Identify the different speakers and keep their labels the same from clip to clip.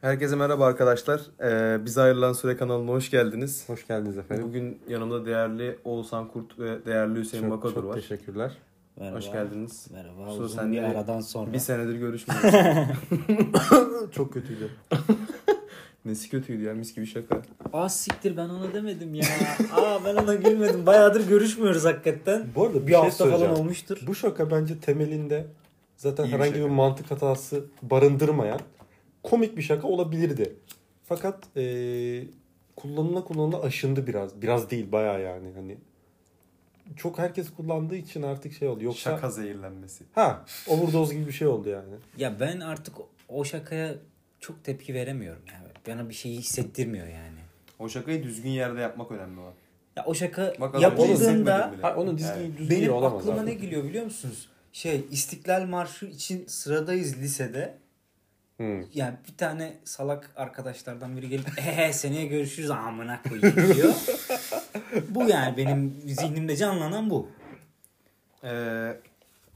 Speaker 1: Herkese merhaba arkadaşlar. Ee, Bize Ayrılan Süre kanalına hoş geldiniz.
Speaker 2: Hoş geldiniz efendim.
Speaker 1: Bugün yanımda değerli Oğuzhan Kurt ve değerli Hüseyin
Speaker 2: Çok,
Speaker 1: Bakadur
Speaker 2: çok
Speaker 1: var.
Speaker 2: teşekkürler.
Speaker 3: Merhaba.
Speaker 1: Hoş geldiniz.
Speaker 3: Merhaba.
Speaker 1: Su,
Speaker 3: Uzun
Speaker 1: sen
Speaker 3: bir
Speaker 1: de-
Speaker 3: aradan sonra.
Speaker 1: Bir senedir görüşmüyoruz.
Speaker 2: Çok kötüydü.
Speaker 1: Nesi kötüydü ya mis gibi şaka.
Speaker 3: Aa siktir ben ona demedim ya. Aa ben ona gülmedim. Bayağıdır görüşmüyoruz hakikaten.
Speaker 2: Bu arada bir,
Speaker 3: Bir,
Speaker 2: şey
Speaker 3: hafta falan
Speaker 2: söyleyeceğim.
Speaker 3: olmuştur.
Speaker 2: Bu şaka bence temelinde zaten
Speaker 1: İyi bir
Speaker 2: herhangi
Speaker 1: şaka.
Speaker 2: bir mantık hatası barındırmayan komik bir şaka olabilirdi. Fakat eee kullanıla kullanıla aşındı biraz. Biraz değil bayağı yani hani. Çok herkes kullandığı için artık şey oldu. Yoksa
Speaker 1: Şaka zehirlenmesi.
Speaker 2: ha overdose gibi bir şey oldu yani.
Speaker 3: Ya ben artık o şakaya çok tepki veremiyorum. Yani bana bir şeyi hissettirmiyor yani.
Speaker 1: O şakayı düzgün yerde yapmak önemli olan.
Speaker 3: Ya o şaka
Speaker 1: Bak az önce
Speaker 3: yapıldığında
Speaker 1: hissetmedim bile.
Speaker 2: Ha, onun dizgi
Speaker 1: Evet.
Speaker 2: düzgün
Speaker 3: benim
Speaker 2: şey olamaz.
Speaker 3: aklıma
Speaker 2: artık.
Speaker 3: ne geliyor biliyor musunuz? Şey İstiklal Marşı için sıradayız lisede.
Speaker 2: Hı.
Speaker 3: Yani bir tane salak arkadaşlardan biri gelip ehe seneye görüşürüz amına koyayım diyor. bu yani benim zihnimde canlanan bu.
Speaker 1: Ee,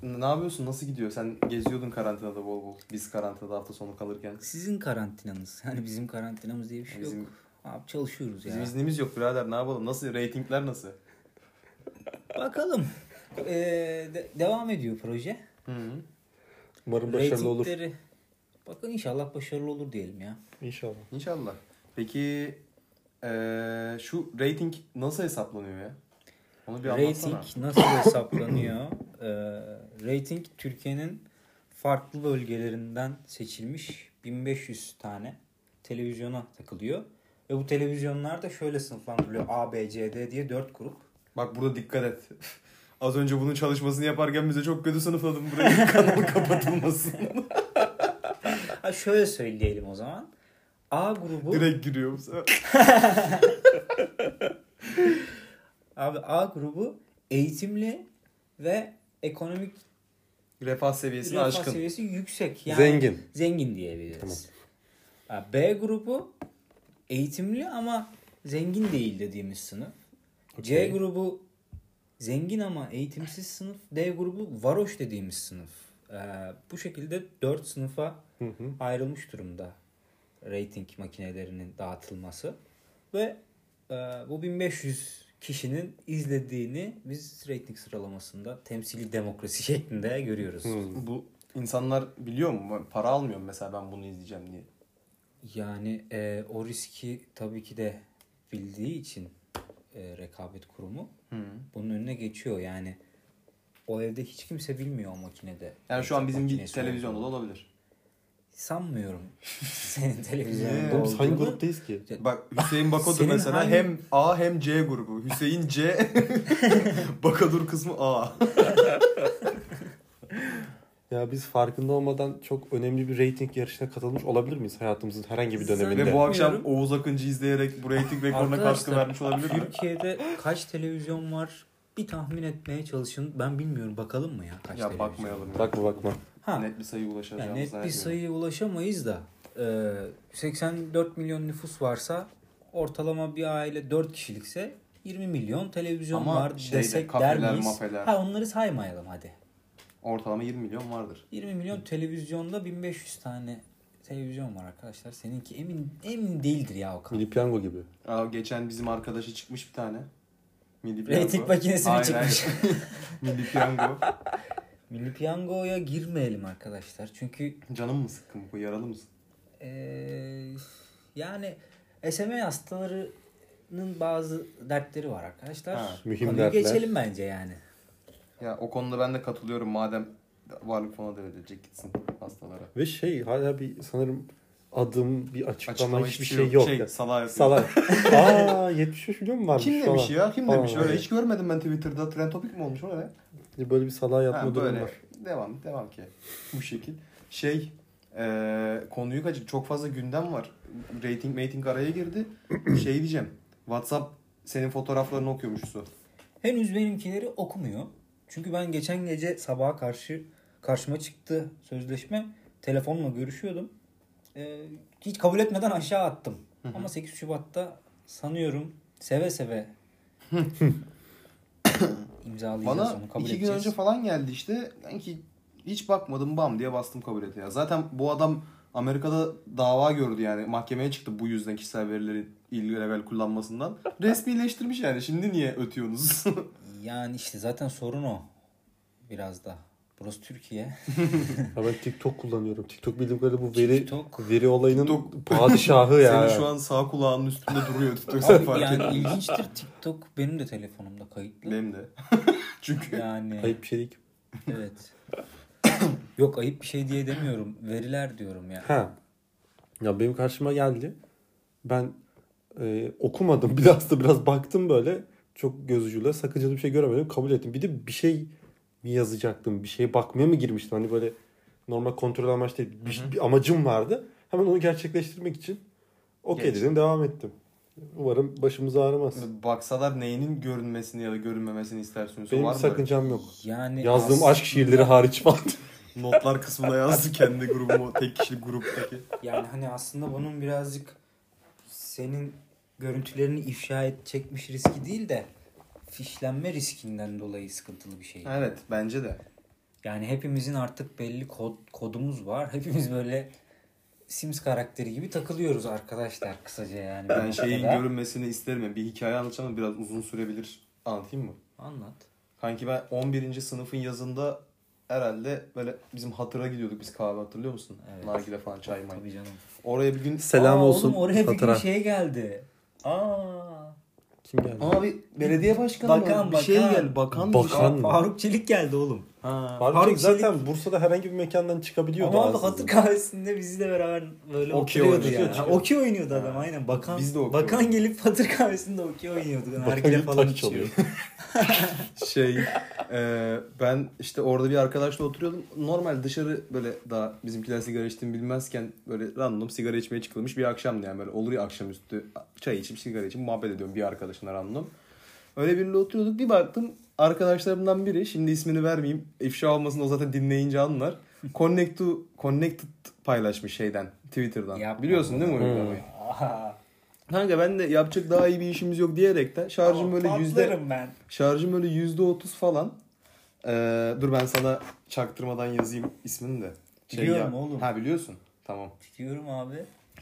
Speaker 1: ne yapıyorsun? Nasıl gidiyor? Sen geziyordun karantinada bol bol. Biz karantinada hafta sonu kalırken.
Speaker 3: Sizin karantinanız. Hani bizim karantinamız diye bir şey
Speaker 1: Bizim-
Speaker 3: yok. Abi çalışıyoruz ya.
Speaker 1: Bizim iznimiz yok birader ne yapalım? Nasıl? Ratingler nasıl?
Speaker 3: Bakalım. Ee, de- devam ediyor proje.
Speaker 1: Hı hı.
Speaker 2: Umarım başarılı olur.
Speaker 3: Ratingleri- Bakın inşallah başarılı olur diyelim ya.
Speaker 2: İnşallah.
Speaker 1: İnşallah. Peki ee, şu rating nasıl hesaplanıyor ya? Onu bir anlatsana.
Speaker 3: Rating nasıl hesaplanıyor? Ee, rating Türkiye'nin farklı bölgelerinden seçilmiş 1500 tane televizyona takılıyor. Ve bu televizyonlar da şöyle sınıflandırılıyor. A, B, C, D diye 4 grup.
Speaker 1: Bak burada dikkat et. Az önce bunun çalışmasını yaparken bize çok kötü sınıfladın burayı. Kanal kapatılmasın.
Speaker 3: Ha, şöyle söyleyelim o zaman. A grubu...
Speaker 1: Direkt giriyorum sana.
Speaker 3: Abi A grubu eğitimli ve ekonomik
Speaker 1: Refah seviyesine
Speaker 3: refah
Speaker 1: aşkın.
Speaker 3: seviyesi yüksek.
Speaker 2: Zengin.
Speaker 3: Zengin diyebiliriz. Ha, B grubu eğitimli ama zengin değil dediğimiz sınıf. C
Speaker 2: Okey.
Speaker 3: grubu zengin ama eğitimsiz sınıf. D grubu varoş dediğimiz sınıf. Ee, bu şekilde 4 sınıfa
Speaker 2: Hı hı.
Speaker 3: ayrılmış durumda rating makinelerinin dağıtılması ve e, bu 1500 kişinin izlediğini biz rating sıralamasında temsili demokrasi şeklinde görüyoruz.
Speaker 1: Bu insanlar biliyor mu? Para almıyorum mesela ben bunu izleyeceğim diye.
Speaker 3: Yani e, o riski tabii ki de bildiği için e, rekabet kurumu bunun önüne geçiyor. Yani o evde hiç kimse bilmiyor o makinede.
Speaker 1: Yani şu an bizim bir
Speaker 3: Makinesi
Speaker 1: televizyonda da
Speaker 3: olduğunu.
Speaker 1: olabilir.
Speaker 3: Sanmıyorum. Senin
Speaker 1: Niye?
Speaker 3: televizyonda
Speaker 2: Oğlum biz hangi
Speaker 3: olduğunu.
Speaker 2: gruptayız ki?
Speaker 1: Bak Hüseyin Bakodur
Speaker 3: Senin
Speaker 1: mesela
Speaker 3: hangi-
Speaker 1: hem A hem C grubu. Hüseyin C, Bakodur kısmı A.
Speaker 2: Ya biz farkında olmadan çok önemli bir reyting yarışına katılmış olabilir miyiz hayatımızın herhangi bir döneminde?
Speaker 1: Ve bu akşam
Speaker 3: Bilmiyorum.
Speaker 1: Oğuz Akıncı izleyerek bu reyting rekoruna katkı
Speaker 3: Arkadaşlar,
Speaker 1: vermiş olabilir mi?
Speaker 3: Türkiye'de kaç televizyon var? Bir tahmin etmeye çalışın. Ben bilmiyorum bakalım mı ya kaç
Speaker 1: Ya
Speaker 3: televizyon?
Speaker 1: bakmayalım. ya.
Speaker 2: Bakma bakma.
Speaker 3: Ha,
Speaker 1: Net bir sayı
Speaker 3: yani
Speaker 1: ulaşacağımız
Speaker 3: net bir sayıya ulaşamayız da. e, 84 milyon nüfus varsa ortalama bir aile 4 kişilikse 20 milyon televizyon
Speaker 1: Ama
Speaker 3: var
Speaker 1: şeyde,
Speaker 3: desek
Speaker 1: kafeler,
Speaker 3: der miyiz?
Speaker 1: mafeler.
Speaker 3: Ha onları saymayalım hadi.
Speaker 1: Ortalama 20 milyon vardır.
Speaker 3: 20 milyon televizyonda 1500 tane televizyon var arkadaşlar. Seninki emin emin değildir ya o kadar.
Speaker 2: Milli piyango gibi.
Speaker 1: Aa, geçen bizim arkadaşa çıkmış bir tane. Milli
Speaker 3: Rating makinesi mi
Speaker 1: Hayır,
Speaker 3: çıkmış?
Speaker 1: hayır. Milli piyango.
Speaker 3: Milli piyangoya girmeyelim arkadaşlar. Çünkü
Speaker 1: Canım mı sıkkın bu? Yaralı mısın?
Speaker 3: Ee, yani SMA hastalarının bazı dertleri var arkadaşlar.
Speaker 1: Ha,
Speaker 2: mühim
Speaker 3: Konuyu
Speaker 2: dertler.
Speaker 3: geçelim bence yani.
Speaker 1: Ya o konuda ben de katılıyorum. Madem varlık fonu da verecek gitsin hastalara.
Speaker 2: Ve şey hala bir sanırım adım bir açıklama,
Speaker 1: Açıklama
Speaker 2: hiçbir şey yok.
Speaker 1: Şey,
Speaker 2: ya.
Speaker 1: salağa yapıyor.
Speaker 2: Salak. Aa 73 milyon mu varmış
Speaker 1: Kim demiş
Speaker 2: falan.
Speaker 1: şey ya? Kim demiş?
Speaker 2: Aa,
Speaker 1: Öyle hiç görmedim ben Twitter'da. Trend topic mi olmuş öyle?
Speaker 2: Böyle bir salağa yatma
Speaker 1: Ha,
Speaker 2: durumu
Speaker 1: böyle.
Speaker 2: var.
Speaker 1: Devam, devam ki. Bu şekil. Şey, eee konuyu kaçıp çok fazla gündem var. Rating, rating araya girdi. şey diyeceğim. WhatsApp senin fotoğraflarını okuyormuş su.
Speaker 3: Henüz benimkileri okumuyor. Çünkü ben geçen gece sabaha karşı karşıma çıktı sözleşme. Telefonla görüşüyordum. Ee, hiç kabul etmeden aşağı attım. Ama 8 Şubat'ta sanıyorum seve seve imzalayacağız
Speaker 1: Bana
Speaker 3: onu kabul
Speaker 1: iki gün
Speaker 3: edeceğiz.
Speaker 1: önce falan geldi işte. Ben ki hiç bakmadım bam diye bastım kabul et ya. Zaten bu adam Amerika'da dava gördü yani mahkemeye çıktı bu yüzden kişisel verileri illegal kullanmasından. Resmileştirmiş yani şimdi niye ötüyorsunuz?
Speaker 3: Yani işte zaten sorun o. Biraz da. Burası Türkiye.
Speaker 2: Ya ben TikTok kullanıyorum. Tiktok bildiğim kadarıyla bu veri
Speaker 3: TikTok.
Speaker 2: veri olayının
Speaker 1: TikTok.
Speaker 2: padişahı ya.
Speaker 1: Senin şu an sağ kulağının üstünde duruyor TikTok sen
Speaker 3: Abi
Speaker 1: fark
Speaker 3: yani
Speaker 1: ettin.
Speaker 3: ilginçtir TikTok benim de telefonumda kayıtlı.
Speaker 1: Benim de. Çünkü
Speaker 3: Yani
Speaker 2: Ayıp bir şey değil ki.
Speaker 3: evet. Yok ayıp bir şey diye demiyorum. Veriler diyorum ya.
Speaker 2: Ha. Ya benim karşıma geldi. Ben e, okumadım. Biraz da biraz baktım böyle. Çok göz ucuyla sakıncalı bir şey göremedim. Kabul ettim. Bir de bir şey mi yazacaktım? Bir şeye bakmaya mı girmiştim? Hani böyle normal kontrol amaçlı değil. Bir, bir amacım vardı. Hemen onu gerçekleştirmek için okey
Speaker 1: Geç.
Speaker 2: dedim. Devam ettim. Umarım başımız ağrımaz.
Speaker 1: baksalar neyinin görünmesini ya da görünmemesini istersin.
Speaker 2: Benim
Speaker 1: var
Speaker 2: bir
Speaker 1: mı?
Speaker 2: sakıncam yok.
Speaker 3: Yani
Speaker 2: Yazdığım
Speaker 3: as-
Speaker 2: aşk şiirleri hariç falan.
Speaker 1: Notlar kısmına yazdı kendi grubumu tek kişilik gruptaki.
Speaker 3: Yani hani aslında bunun birazcık senin görüntülerini ifşa et çekmiş riski değil de fişlenme riskinden dolayı sıkıntılı bir şey.
Speaker 1: Evet bence de.
Speaker 3: Yani hepimizin artık belli kod, kodumuz var. Hepimiz böyle Sims karakteri gibi takılıyoruz arkadaşlar kısaca yani.
Speaker 1: Ben şeyin
Speaker 3: Noktada.
Speaker 1: görünmesini isterim. ya. Bir hikaye anlatacağım ama biraz uzun sürebilir. Anlatayım mı?
Speaker 3: Anlat.
Speaker 1: Kanki ben 11. sınıfın yazında herhalde böyle bizim hatıra gidiyorduk biz kahve hatırlıyor musun?
Speaker 3: Evet.
Speaker 1: Nargile falan çay may.
Speaker 3: Tabii canım.
Speaker 1: Oraya bir gün
Speaker 2: Selam
Speaker 3: Aa,
Speaker 2: olsun
Speaker 3: Oğlum oraya bir gün
Speaker 2: Fatıra.
Speaker 3: şey geldi. Aa.
Speaker 2: Kim geldi?
Speaker 1: Ama bir belediye başkanı var.
Speaker 3: Bakan,
Speaker 1: bir şey
Speaker 3: bakan.
Speaker 1: gel bakan.
Speaker 2: Bakan.
Speaker 1: bir-
Speaker 2: mı?
Speaker 3: Faruk Çelik geldi oğlum.
Speaker 1: Ha.
Speaker 2: Faruk
Speaker 3: Faruk
Speaker 2: Çelik zaten Bursa'da herhangi bir mekandan çıkabiliyordu
Speaker 3: Ama abi
Speaker 2: aslında.
Speaker 3: hatır kahvesinde bizle beraber böyle
Speaker 1: Okey
Speaker 3: oturuyordu
Speaker 1: oynuyor,
Speaker 3: yani. Ha,
Speaker 1: çıkıyor.
Speaker 3: Okey oynuyordu adam aynen. Bakan,
Speaker 1: Biz de okey
Speaker 3: bakan
Speaker 1: oynuyoruz.
Speaker 3: gelip hatır kahvesinde okey oynuyordu. Yani
Speaker 2: Bakan
Speaker 3: Nargile
Speaker 2: gibi
Speaker 3: falan
Speaker 2: taş
Speaker 3: içiyor.
Speaker 2: çalıyor.
Speaker 1: şey e, ben işte orada bir arkadaşla oturuyordum. Normal dışarı böyle daha bizimkiler sigara içtiğimi bilmezken böyle random sigara içmeye çıkılmış bir akşamdı yani böyle olur ya akşamüstü çay içip sigara içip muhabbet ediyorum bir arkadaşımla random. Öyle biriyle oturuyorduk bir baktım arkadaşlarımdan biri şimdi ismini vermeyeyim ifşa olmasın o zaten dinleyince anlar. Connect to, Connected paylaşmış şeyden Twitter'dan.
Speaker 3: Yapma
Speaker 1: Biliyorsun değil mi
Speaker 3: bunu.
Speaker 1: uygulamayı?
Speaker 3: Aha.
Speaker 1: Kanka ben de yapacak daha iyi bir işimiz yok diyerekten şarjım böyle yüzde
Speaker 3: Patlarım ben.
Speaker 1: Şarjım öyle yüzde otuz falan. Ee, dur ben sana çaktırmadan yazayım ismini de. Şey
Speaker 3: Biliyorum oğlum.
Speaker 1: Ha biliyorsun. Tamam.
Speaker 3: Diyorum abi.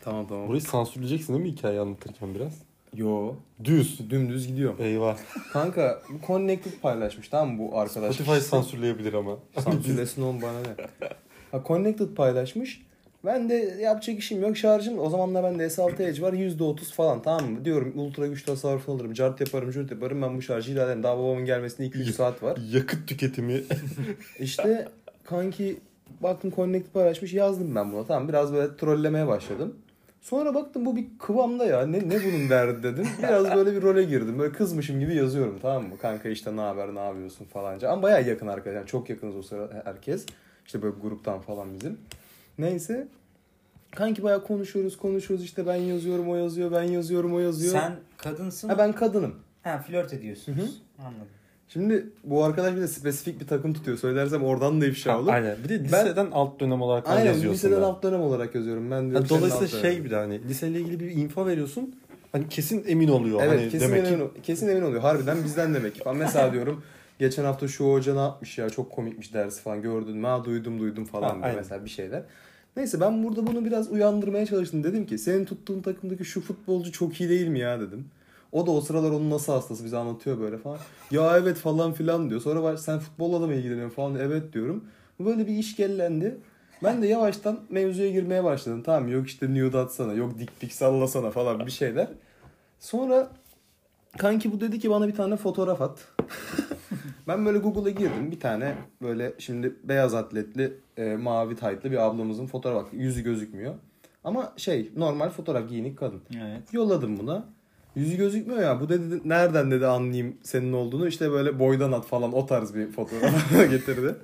Speaker 1: Tamam tamam.
Speaker 2: Burayı sansürleyeceksin değil mi hikaye anlatırken biraz?
Speaker 1: Yo.
Speaker 2: Düz.
Speaker 1: Dümdüz gidiyorum.
Speaker 2: Eyvah.
Speaker 1: Kanka bu Connected paylaşmış tamam mı bu arkadaş?
Speaker 2: Spotify sansürleyebilir ama.
Speaker 1: Sansürlesin oğlum bana ne. Ha, Connected paylaşmış. Ben de yapacak işim yok şarjım. O zaman da bende S6 Edge var %30 falan tamam mı? Diyorum ultra güç tasarrufunu alırım. Cart yaparım, jürt yaparım. Ben bu şarjı idare ederim. Daha babamın gelmesine 2-3 saat var.
Speaker 2: Yakıt tüketimi.
Speaker 1: İşte kanki baktım Connect paylaşmış yazdım ben buna. Tamam biraz böyle trollemeye başladım. Sonra baktım bu bir kıvamda ya ne, ne bunun derdi dedim. Biraz böyle bir role girdim. Böyle kızmışım gibi yazıyorum tamam mı? Kanka işte ne haber ne yapıyorsun falanca. Ama bayağı yakın arkadaşlar. Yani çok yakınız o sıra herkes. İşte böyle gruptan falan bizim. Neyse. Kanki bayağı konuşuyoruz konuşuyoruz işte ben yazıyorum o yazıyor ben yazıyorum o yazıyor.
Speaker 3: Sen kadınsın.
Speaker 1: Ha ben kadınım.
Speaker 3: Ha flört ediyorsunuz. Anladım.
Speaker 1: Şimdi bu arkadaş bir de spesifik bir takım tutuyor. Söylersem oradan da ifşa olur.
Speaker 2: Aynen. Bir de
Speaker 1: Ben-
Speaker 2: liseden alt dönem olarak
Speaker 1: Aynen
Speaker 2: yazıyorsun.
Speaker 1: liseden
Speaker 2: da.
Speaker 1: alt dönem olarak yazıyorum. Ben
Speaker 2: Ha,
Speaker 1: diyorum,
Speaker 2: dolayısıyla
Speaker 1: senin alt
Speaker 2: şey
Speaker 1: dönemin.
Speaker 2: bir de hani liseyle ilgili bir info veriyorsun. Hani kesin emin oluyor.
Speaker 1: Evet
Speaker 2: hani
Speaker 1: kesin,
Speaker 2: demek ki
Speaker 1: emin, kesin emin oluyor. Harbiden bizden demek ki. Falan. Mesela diyorum geçen hafta şu hoca ne yapmış ya çok komikmiş dersi falan gördün mü? Ha duydum duydum
Speaker 2: Ha,
Speaker 1: falan diyor
Speaker 2: aynen.
Speaker 1: mesela bir şeyler. Neyse ben burada bunu biraz uyandırmaya çalıştım. Dedim ki senin tuttuğun takımdaki şu futbolcu çok iyi değil mi ya dedim. O da o sıralar onun nasıl hastası bize anlatıyor böyle falan. Ya evet falan filan diyor. Sonra baş, sen futbolla da mı ilgileniyorsun falan evet diyorum. Böyle bir iş gellendi. Ben de yavaştan mevzuya girmeye başladım. Tamam yok işte nude atsana yok dik dik sallasana falan bir şeyler. Sonra kanki bu dedi ki bana bir tane fotoğraf at. ben böyle Google'a girdim bir tane böyle şimdi beyaz atletli e, mavi taytlı bir ablamızın fotoğrafı bak yüzü gözükmüyor. Ama şey normal fotoğraf giyinik kadın.
Speaker 3: Evet.
Speaker 1: Yolladım buna. Yüzü gözükmüyor ya. Bu dedi nereden dedi anlayayım senin olduğunu. İşte böyle boydan at falan o tarz bir fotoğraf getirdi.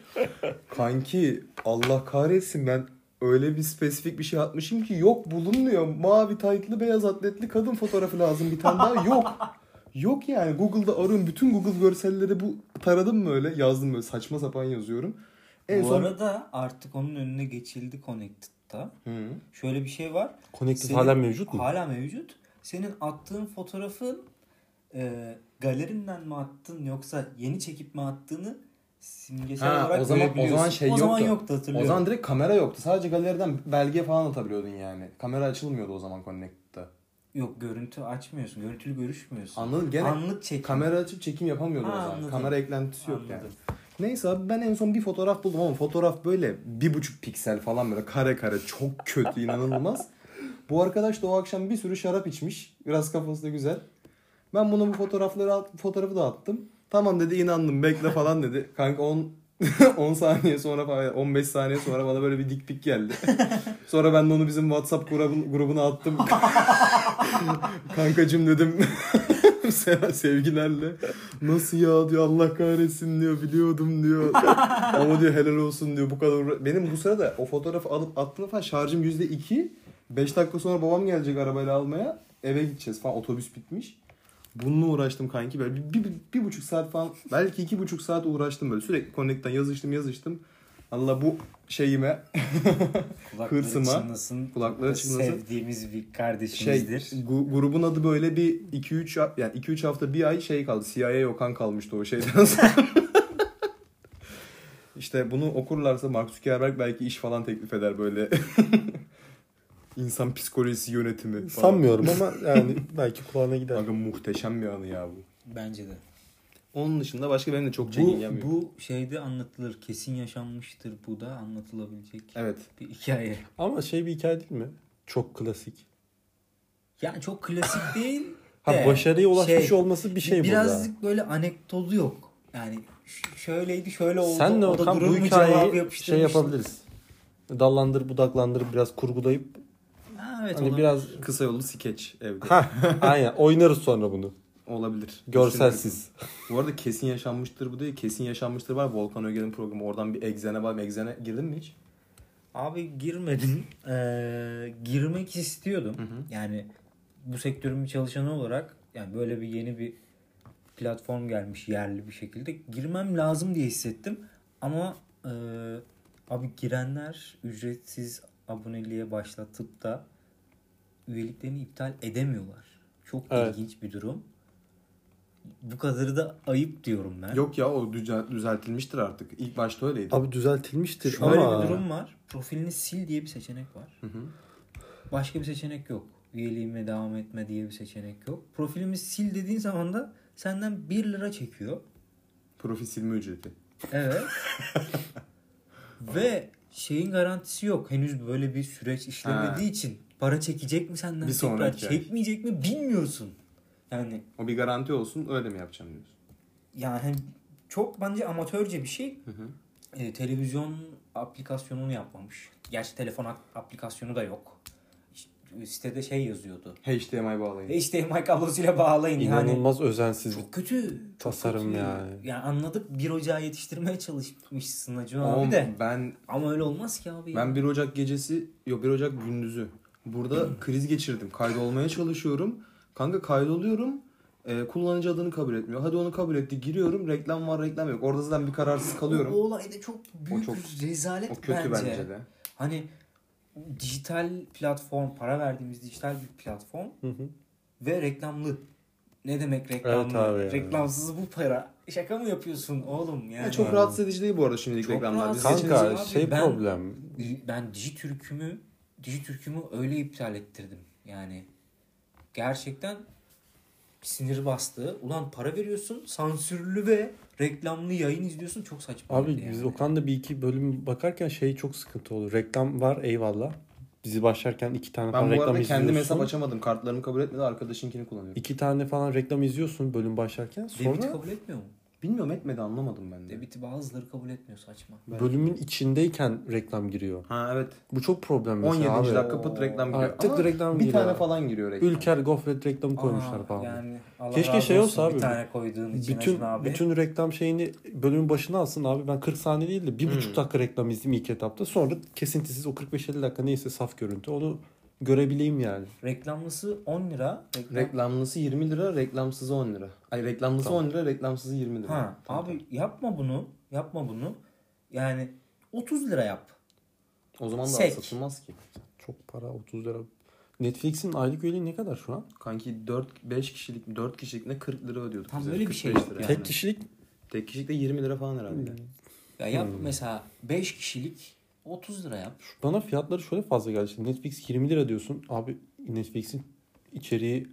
Speaker 1: Kanki Allah kahretsin ben öyle bir spesifik bir şey atmışım ki yok bulunmuyor. Mavi taytlı beyaz atletli kadın fotoğrafı lazım bir tane daha yok. Yok yani Google'da arıyorum. Bütün Google görselleri bu taradım böyle yazdım böyle saçma sapan yazıyorum. En
Speaker 3: Bu
Speaker 1: son...
Speaker 3: arada artık onun önüne geçildi Connected'da.
Speaker 1: Hı.
Speaker 3: Şöyle bir şey var.
Speaker 2: Connected
Speaker 3: Senin-
Speaker 2: hala mevcut mu?
Speaker 3: Hala mevcut. Senin attığın fotoğrafın e, galerinden mi attın yoksa yeni çekip mi attığını simgesel
Speaker 1: Ha,
Speaker 3: olarak
Speaker 1: o zaman- o
Speaker 3: görebiliyorsun.
Speaker 1: zaman şey
Speaker 3: o zaman
Speaker 1: yoktu.
Speaker 3: yoktu hatırlıyorum.
Speaker 1: O zaman direkt kamera yoktu. Sadece galeriden belge falan atabiliyordun yani. Kamera açılmıyordu o zaman Connect'ta.
Speaker 3: Yok görüntü açmıyorsun. Görüntülü görüşmüyorsun.
Speaker 1: Anladım. Gene
Speaker 3: Anlık çekim.
Speaker 1: kamera açıp çekim yapamıyordun
Speaker 3: Ha,
Speaker 1: o zaman.
Speaker 3: anladım.
Speaker 1: Kamera eklentisi yok yani.
Speaker 3: Anladım.
Speaker 1: Neyse abi ben en son bir fotoğraf buldum ama fotoğraf böyle bir buçuk piksel falan böyle kare kare çok kötü inanılmaz. Bu arkadaş da o akşam bir sürü şarap içmiş. Biraz kafası da güzel. Ben buna bu fotoğrafları at- fotoğrafı da attım. Tamam dedi inandım bekle falan dedi. Kanka 10 10 saniye sonra falan 15 saniye sonra bana böyle bir dik pik geldi. sonra ben de onu bizim WhatsApp grubun- grubuna attım. Kankacım dedim Sev- sevgilerle nasıl ya diyor Allah kahretsin diyor biliyordum diyor ama diyor helal olsun diyor bu kadar uğra- benim bu sırada o fotoğrafı alıp attığımda falan şarjım yüzde iki 5 dakika sonra babam gelecek arabayla almaya eve gideceğiz falan otobüs bitmiş bununla uğraştım kanki böyle bir, bir, bir buçuk saat falan belki iki buçuk saat uğraştım böyle sürekli connect'ten yazıştım yazıştım Allah bu şeyime
Speaker 3: Kulakları
Speaker 1: hırsıma,
Speaker 3: çınlasın.
Speaker 1: kulakları çınlasın.
Speaker 3: Sevdiğimiz bir
Speaker 1: şey
Speaker 3: kardeşimizdir.
Speaker 1: gu- grubun adı böyle bir 2 3 yani 2 3 hafta bir ay şey kaldı. CIA Okan kalmıştı o şeyden sonra. işte bunu okurlarsa Mark Zuckerberg belki iş falan teklif eder böyle. İnsan psikolojisi yönetimi falan.
Speaker 2: Sanmıyorum ama yani belki kulağına gider.
Speaker 1: Kanka muhteşem bir anı ya bu.
Speaker 3: Bence de.
Speaker 1: Onun dışında başka benim de çok çekin
Speaker 3: Bu,
Speaker 1: gelmiyor.
Speaker 3: bu şeyde anlatılır. Kesin yaşanmıştır. Bu da anlatılabilecek
Speaker 1: Evet.
Speaker 3: bir hikaye.
Speaker 2: Ama şey bir hikaye değil mi? Çok klasik.
Speaker 3: Yani çok klasik değil.
Speaker 2: Ha
Speaker 3: de
Speaker 2: başarıya ulaşmış
Speaker 3: şey,
Speaker 2: olması bir şey bu da.
Speaker 3: Birazcık böyle anekdotu yok. Yani ş- şöyleydi şöyle oldu.
Speaker 2: Sen de
Speaker 3: o da
Speaker 2: Okan
Speaker 3: durur
Speaker 2: bu
Speaker 3: mu cevabı
Speaker 2: hikayeyi şey
Speaker 3: yapıştırmışsın.
Speaker 2: yapabiliriz. Dallandır budaklandır biraz kurgulayıp
Speaker 3: Ha, evet,
Speaker 2: hani
Speaker 3: olabilir.
Speaker 2: biraz
Speaker 1: Kısa yollu skeç evde.
Speaker 2: ha aynen oynarız sonra bunu.
Speaker 1: Olabilir.
Speaker 2: Görselsiz.
Speaker 1: Bu arada kesin yaşanmıştır bu değil. Kesin yaşanmıştır var. Volkan Öge'nin programı. Oradan bir egzene var. Egzene girdin mi hiç?
Speaker 3: Abi girmedim. Ee, girmek istiyordum. Yani bu sektörün bir çalışanı olarak yani böyle bir yeni bir platform gelmiş yerli bir şekilde girmem lazım diye hissettim. Ama e, abi girenler ücretsiz aboneliğe başlatıp da üyeliklerini iptal edemiyorlar. Çok
Speaker 2: Evet.
Speaker 3: ilginç bir durum. Bu kadarı da ayıp diyorum ben.
Speaker 1: Yok ya o düzel- düzeltilmiştir artık. İlk başta öyleydi.
Speaker 2: Abi düzeltilmiştir
Speaker 3: Şöyle
Speaker 2: ama
Speaker 3: bir durum var. Profilini sil diye bir seçenek var. Başka bir seçenek yok. Üyeliğime devam etme diye bir seçenek yok. Profilimi sil dediğin zaman da senden 1 lira çekiyor.
Speaker 1: Profil silme ücreti.
Speaker 3: Evet. Ve şeyin garantisi yok. Henüz böyle bir süreç işlemediği için para çekecek mi senden
Speaker 1: Bir
Speaker 3: tekrar
Speaker 1: sonraki ay.
Speaker 3: çekmeyecek mi bilmiyorsun. Yani
Speaker 1: O bir garanti olsun öyle mi yapacağım diyorsun.
Speaker 3: yani çok bence amatörce bir şey. Ee, televizyon aplikasyonunu yapmamış. Gerçi telefon a- aplikasyonu da yok. İşte, sitede şey yazıyordu.
Speaker 1: HDMI bağlayın.
Speaker 3: HDMI kablosuyla bağlayın. Yani Hani
Speaker 2: inanılmaz özensiz bir
Speaker 3: çok kötü. çok
Speaker 2: Tasarım
Speaker 3: kötü.
Speaker 2: yani.
Speaker 3: Yani anladık 1 Ocağı yetiştirmeye çalışmışsın Acun
Speaker 1: Oğlum,
Speaker 3: abi de.
Speaker 1: ben
Speaker 3: Ama öyle olmaz ki abi.
Speaker 1: ben 1 Ocak gecesi yok 1 Ocak gündüzü burada kriz geçirdim. Kaydolmaya çalışıyorum. Kanka kaydoluyorum. Ee, kullanıcı adını kabul etmiyor. Hadi onu kabul etti. Giriyorum. Reklam var, reklam yok. Orada zaten bir kararsız
Speaker 3: O, o
Speaker 1: kalıyorum.
Speaker 3: olayda çok büyük
Speaker 1: çok-
Speaker 3: rezalet
Speaker 1: O kötü bence, de.
Speaker 3: Hani dijital platform, para verdiğimiz dijital bir platform
Speaker 2: hı.
Speaker 3: ve reklamlı. Ne demek reklamlı?
Speaker 2: Evet abi yani.
Speaker 3: Reklamsız bu para. Şaka mı yapıyorsun oğlum? Yani
Speaker 1: Ya çok rahatsız edici değil bu arada şimdilik
Speaker 3: Çok
Speaker 1: reklamlar. Biz
Speaker 3: rahatsız
Speaker 1: geçen-
Speaker 3: Seçiniz
Speaker 2: Kanka
Speaker 3: abi,
Speaker 2: şey
Speaker 3: ben-
Speaker 2: problem.
Speaker 3: ben Dijitürk'ümü Dijitürk'ümü öyle iptal ettirdim. Yani gerçekten sinir bastı. Ulan para veriyorsun, sansürlü ve reklamlı yayın izliyorsun. Çok saçma.
Speaker 2: Abi
Speaker 3: yani.
Speaker 2: biz Okan'da bir iki bölüm bakarken şey çok sıkıntı olur. Reklam var eyvallah. Bizi başlarken iki tane
Speaker 1: Ben
Speaker 2: falan
Speaker 1: bu
Speaker 2: reklam
Speaker 1: arada kendim hesap
Speaker 2: izliyorsun.
Speaker 1: açamadım. Kartlarımı kabul etmedi. Arkadaşınkini kullanıyorum.
Speaker 2: İki tane falan reklam izliyorsun bölüm başlarken.
Speaker 3: Debiti
Speaker 2: Sonra
Speaker 3: kabul etmiyor mu?
Speaker 1: Bilmiyorum etmedi anlamadım ben de.
Speaker 3: Debiti bazıları kabul etmiyor saçma.
Speaker 2: bölümün içindeyken reklam giriyor.
Speaker 1: Ha evet.
Speaker 2: Bu çok problem mesela
Speaker 1: 17.
Speaker 2: abi.
Speaker 1: dakika pıt reklam giriyor.
Speaker 2: Artık
Speaker 1: Ama
Speaker 2: reklam
Speaker 1: bir
Speaker 2: giriyor.
Speaker 1: tane falan giriyor reklam.
Speaker 2: Ülker gofret reklamı koymuşlar
Speaker 3: Aa,
Speaker 2: falan.
Speaker 3: Yani Allah
Speaker 2: Keşke
Speaker 3: razı
Speaker 2: şey
Speaker 3: olsun
Speaker 2: olsa abi,
Speaker 3: Bir tane koyduğun için
Speaker 2: bütün
Speaker 3: Acun abi.
Speaker 2: bütün reklam şeyini bölümün başına alsın abi. Ben 40 saniye değil de bir buçuk dakika reklam izleyeyim ilk etapta. Sonra kesintisiz o 45-50 dakika neyse saf görüntü. Onu görebileyim yani.
Speaker 3: Reklamlısı 10 lira. Reklam...
Speaker 1: Reklamlısı 20 lira, reklamsızı 10 lira. Ay reklamlısı 10 lira, reklamsızı 20 lira.
Speaker 3: Ha, abi yapma bunu. Yapma bunu. Yani 30 lira yap.
Speaker 1: O zaman da
Speaker 3: Sek.
Speaker 1: satılmaz ki.
Speaker 2: Çok para 30 lira. Netflix'in aylık üyeliği ne kadar şu an?
Speaker 1: Kanki 4 5 kişilik 4 kişilik ne 40 lira ödüyorduk
Speaker 3: Tam
Speaker 1: bize.
Speaker 3: öyle bir şey Hmm.
Speaker 1: 45
Speaker 3: yok
Speaker 1: lira.
Speaker 3: yani.
Speaker 2: Tek kişilik
Speaker 1: Tek kişilik de 20 lira falan herhalde.
Speaker 4: Ya yap mesela 5 kişilik 30 lira yap.
Speaker 2: Bana fiyatları şöyle fazla geldi. Şimdi Netflix 20 lira diyorsun. Abi Netflix'in içeriği